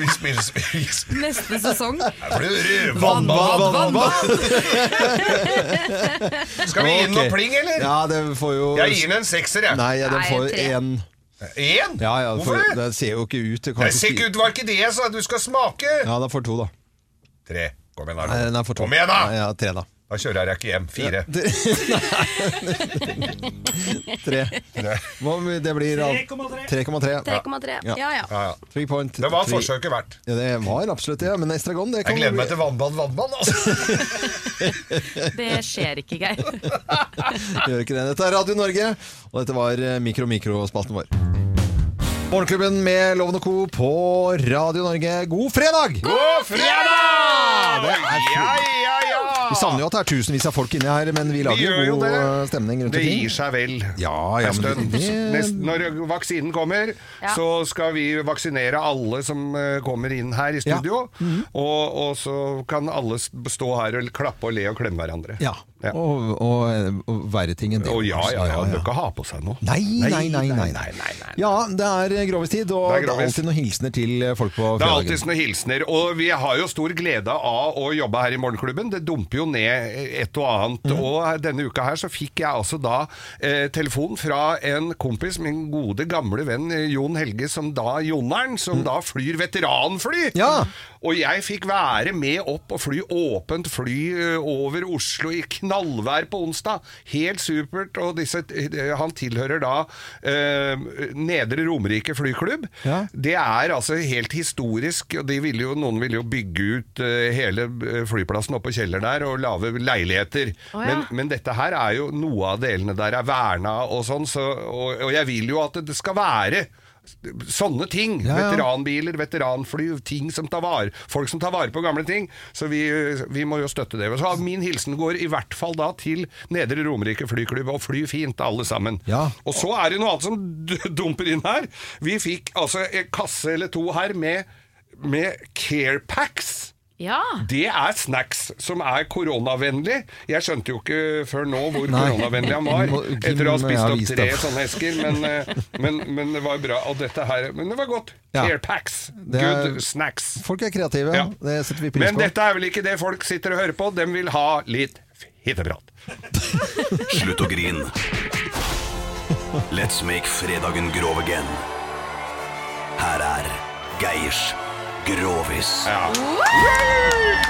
vi spiller spill. Neste sesong. Her blir det vannbad, Skal vi gi den noe Ok. pling, eller? Ja, det får jo Jeg gir den en sekser, jeg. Nei, ja, den Nei, får en tre. én. Én? Ja, ja, Hvorfor for, det? Den ser jo ikke ut. Det kan Nei, ikke se si- ikke ut, var ikke det jeg sa? Du skal smake! Ja, den får to, da. Tre. Kom igjen, da. Nei, den er for to. Kom igjen, da! Nei, ja, tre, da. Da kjører jeg ikke hjem. Fire. Tre. Hva, om det blir av- 3,3. 3,3. Ja. 3,3. Ja, ja. Three point. Det var Three- forsøket verdt. Ja, det var absolutt det, men estragon det kan Jeg gleder meg til vannbad, vannbad. Altså. Det skjer ikke, Geir. Gjør ikke det. Dette er Radio Norge, og dette var eh, Mikro Mikro-spalten vår. Morgenklubben med Loven og Co. på Radio Norge. God fredag! God fredag! Det er fri- Ja, ja, ja! Vi savner jo at det er tusenvis av folk inni her, men vi lager gjør jo jo god det. eh, stemning rundt Det omkring. gir seg vel. Ja, ja, en men stund. det, Nest- Når vaksinen kommer, Ja. så skal vi vaksinere alle som eh, kommer inn her i studio. Mhm. og, og så kan alle s- stå her og klappe og le og klemme hverandre. ja. Og, eh, og, og være ting en del. Å, ja, ja, ja. Du kan ikke ha på seg noe. Nei, nei, nei. nei, nei, Ja, det er grovistid, og Det er det er, grovis. alltid noen hilsener til eh, folk på Det er alltid sånne hilsener, og vi har jo stor glede av å jobbe her i Morgenklubben. Det dumper jo ned et og annet. Og denne uka her så fikk jeg altså da eh, telefon fra en kompis, min gode gamle venn eh, Jon Helge, som da Jonneren, som da flyr veteranfly. Og jeg fikk være med opp og fly åpent fly eh, over Oslo i knallvær på onsdag. Helt supert. Og disse, eh, han tilhører da eh, Nedre Romerike flyklubb. Det er altså helt historisk. og De ville jo, noen ville jo bygge ut eh, hele eh, flyplassen oppe på Kjeller der og lage leiligheter. Å, ja. men, men dette her er jo noe av delene der er verna og sånn, så, og, og jeg vil jo at det skal være Sånne ting. ja. Veteranbiler, veteranfly, ting som tar vare folk som tar vare på gamle ting. Så vi, vi må jo støtte det. Så min hilsen går i hvert fall da til Nedre Romerike flyklubb, og fly fint, alle sammen. Og så er det noe annet som d- dumper inn her. Vi fikk altså en kasse eller to her med, med Care Packs. Ja. Det er snacks som er koronavennlig. Jeg skjønte jo ikke før nå hvor Nei. koronavennlig han var, Må- Kim, etter å ha jeg spist har opp vist tre deg. sånne esker, men, eh, men, men det var bra. Og dette her Men det var godt. Ja. Airpacks. Det er- Good snacks. Folk er kreative, Ja. det setter vi pris Men på. dette er vel ikke det folk sitter og hører på? De vil ha litt fitteprat. Slutt å grine. Let's make fredagen grov again. Her er Geirs Grovis. Absolutt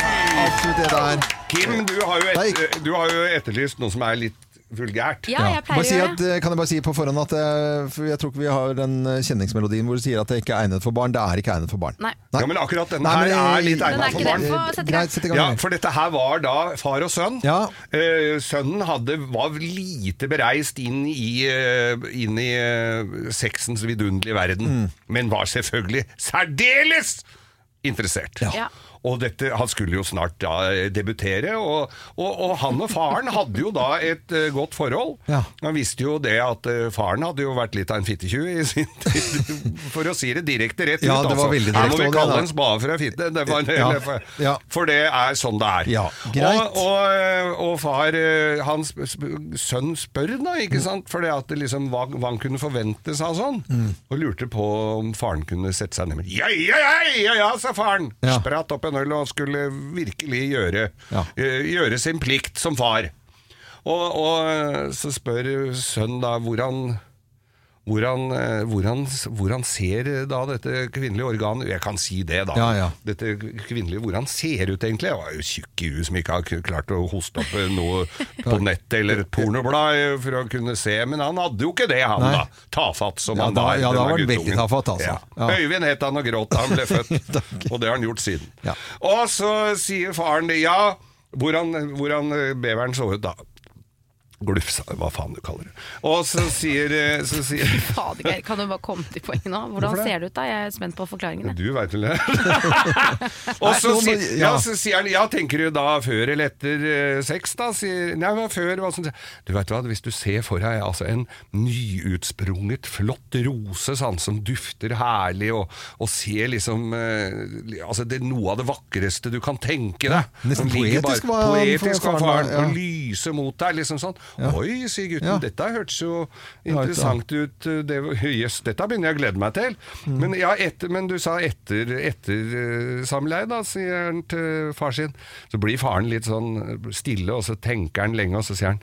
det det er. Kim, du har jo, et, du har jo etterlyst noe som er litt vulgært. Bare si at, eh, Kan jeg bare si på forhånd at eh, for jeg tror ikke vi har den eh, kjenningsmelodien hvor du sier at det ikke er egnet for barn. Det er ikke egnet for barn. Nei. Ja, men akkurat denne Nei, men her er jeg- litt egnet for barn. Greit, sett i gang. Ja, for dette her var da far og sønn. Eh, sønnen hadde, var lite bereist inn i, eh, inn i eh, sexens vidunderlige verden, Mm. men var selvfølgelig særdeles interessert. Ja. Og dette, Han skulle jo snart da debutere, og, og, og han og faren hadde jo da et eh, godt forhold. Han visste jo det at eh, faren hadde jo vært litt av en fittetjuv i sin tid, for å si det direkte rett Ja, ut. det var altså. veldig Her må direkte, vi og det kalle da. en spade for en fitte. Det var en, Ja. eller for- For det er sånn det er. greit. Og, og, og far, eh, hans sp- sp- sønn spør da, Mm. ikke sant? For det at det liksom, hva, hva han kunne forvente seg og sånn. Mm. Og lurte på om faren kunne sette seg ned med Ja, ja, ja, ja, ja, sa faren. Ja. Spratt opp en øl og skulle virkelig gjøre, eh, gjøre sin plikt som far. Og, og så spør sønnen da hvordan hvordan, eh, hvordan, hvordan ser da dette kvinnelige organet Jeg kan si det, da. Ja, ja. Dette kvinnelige, Hvordan ser ut egentlig? Jeg var jo tjukk i huet som ikke har klart å hoste opp eh, noe på nettet eller et pornoblad eh, for å kunne se, men han hadde jo ikke det, han Nei. da. Tafatt som Ja, han da- var. ja, da denne var han guttungen. veldig tafatt, altså. Ja. Øyvind het han og gråt da han ble født, og det har han gjort siden. Og så sier faren det, ja, hvordan, hvordan eh, beveren så ut da? Glufsa, hva faen du kaller det. Og så sier, eh, så sier Fader, Geir, kan du bare komme til poenget nå? Hvorfor Hvordan det? ser det ut da? Jeg er spent på forklaringene. Du veit vel det. og så, Nei, nå må- sier, ja. ja. så sier han Ja, tenker du da før eller etter eh, sex, da? Sier, nei, men før hva som, Du veit hva, hvis du ser for deg altså, en nyutsprunget, flott rose sånn, som dufter herlig, og, og ser liksom eh, altså, det, er Noe av det vakreste du kan tenke deg. Ja, nesten Som ligger poetisk bare- var han for poetisk faren var da, faren. ja. Og lyse mot deg, liksom sånn. Oi, sier gutten, Ja. dette hørtes jo Ja, interessant ut. eh, Det, var- jøss, dette begynner jeg å glede meg til. Men, ja, etter, men du sa etter, etter eh, samleie, da, sier han til far sin. Så blir faren litt sånn stille, og så tenker han lenge, og så sier han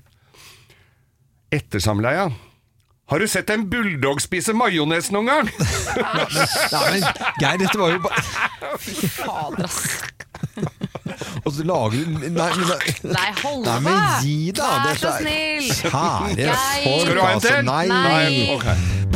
Etter samleie, ja. Har du sett en bulldog spise majones noen gang? Nei, men Geir, dette var jo bare Fy fader, ass. Og så lager du Nei, men, Nei, hold Nei, men deg. gi da! Vær dette så er- snill. Kjære Geir. folk, Skal du ha en altså. til? Nei. Nei. Ok.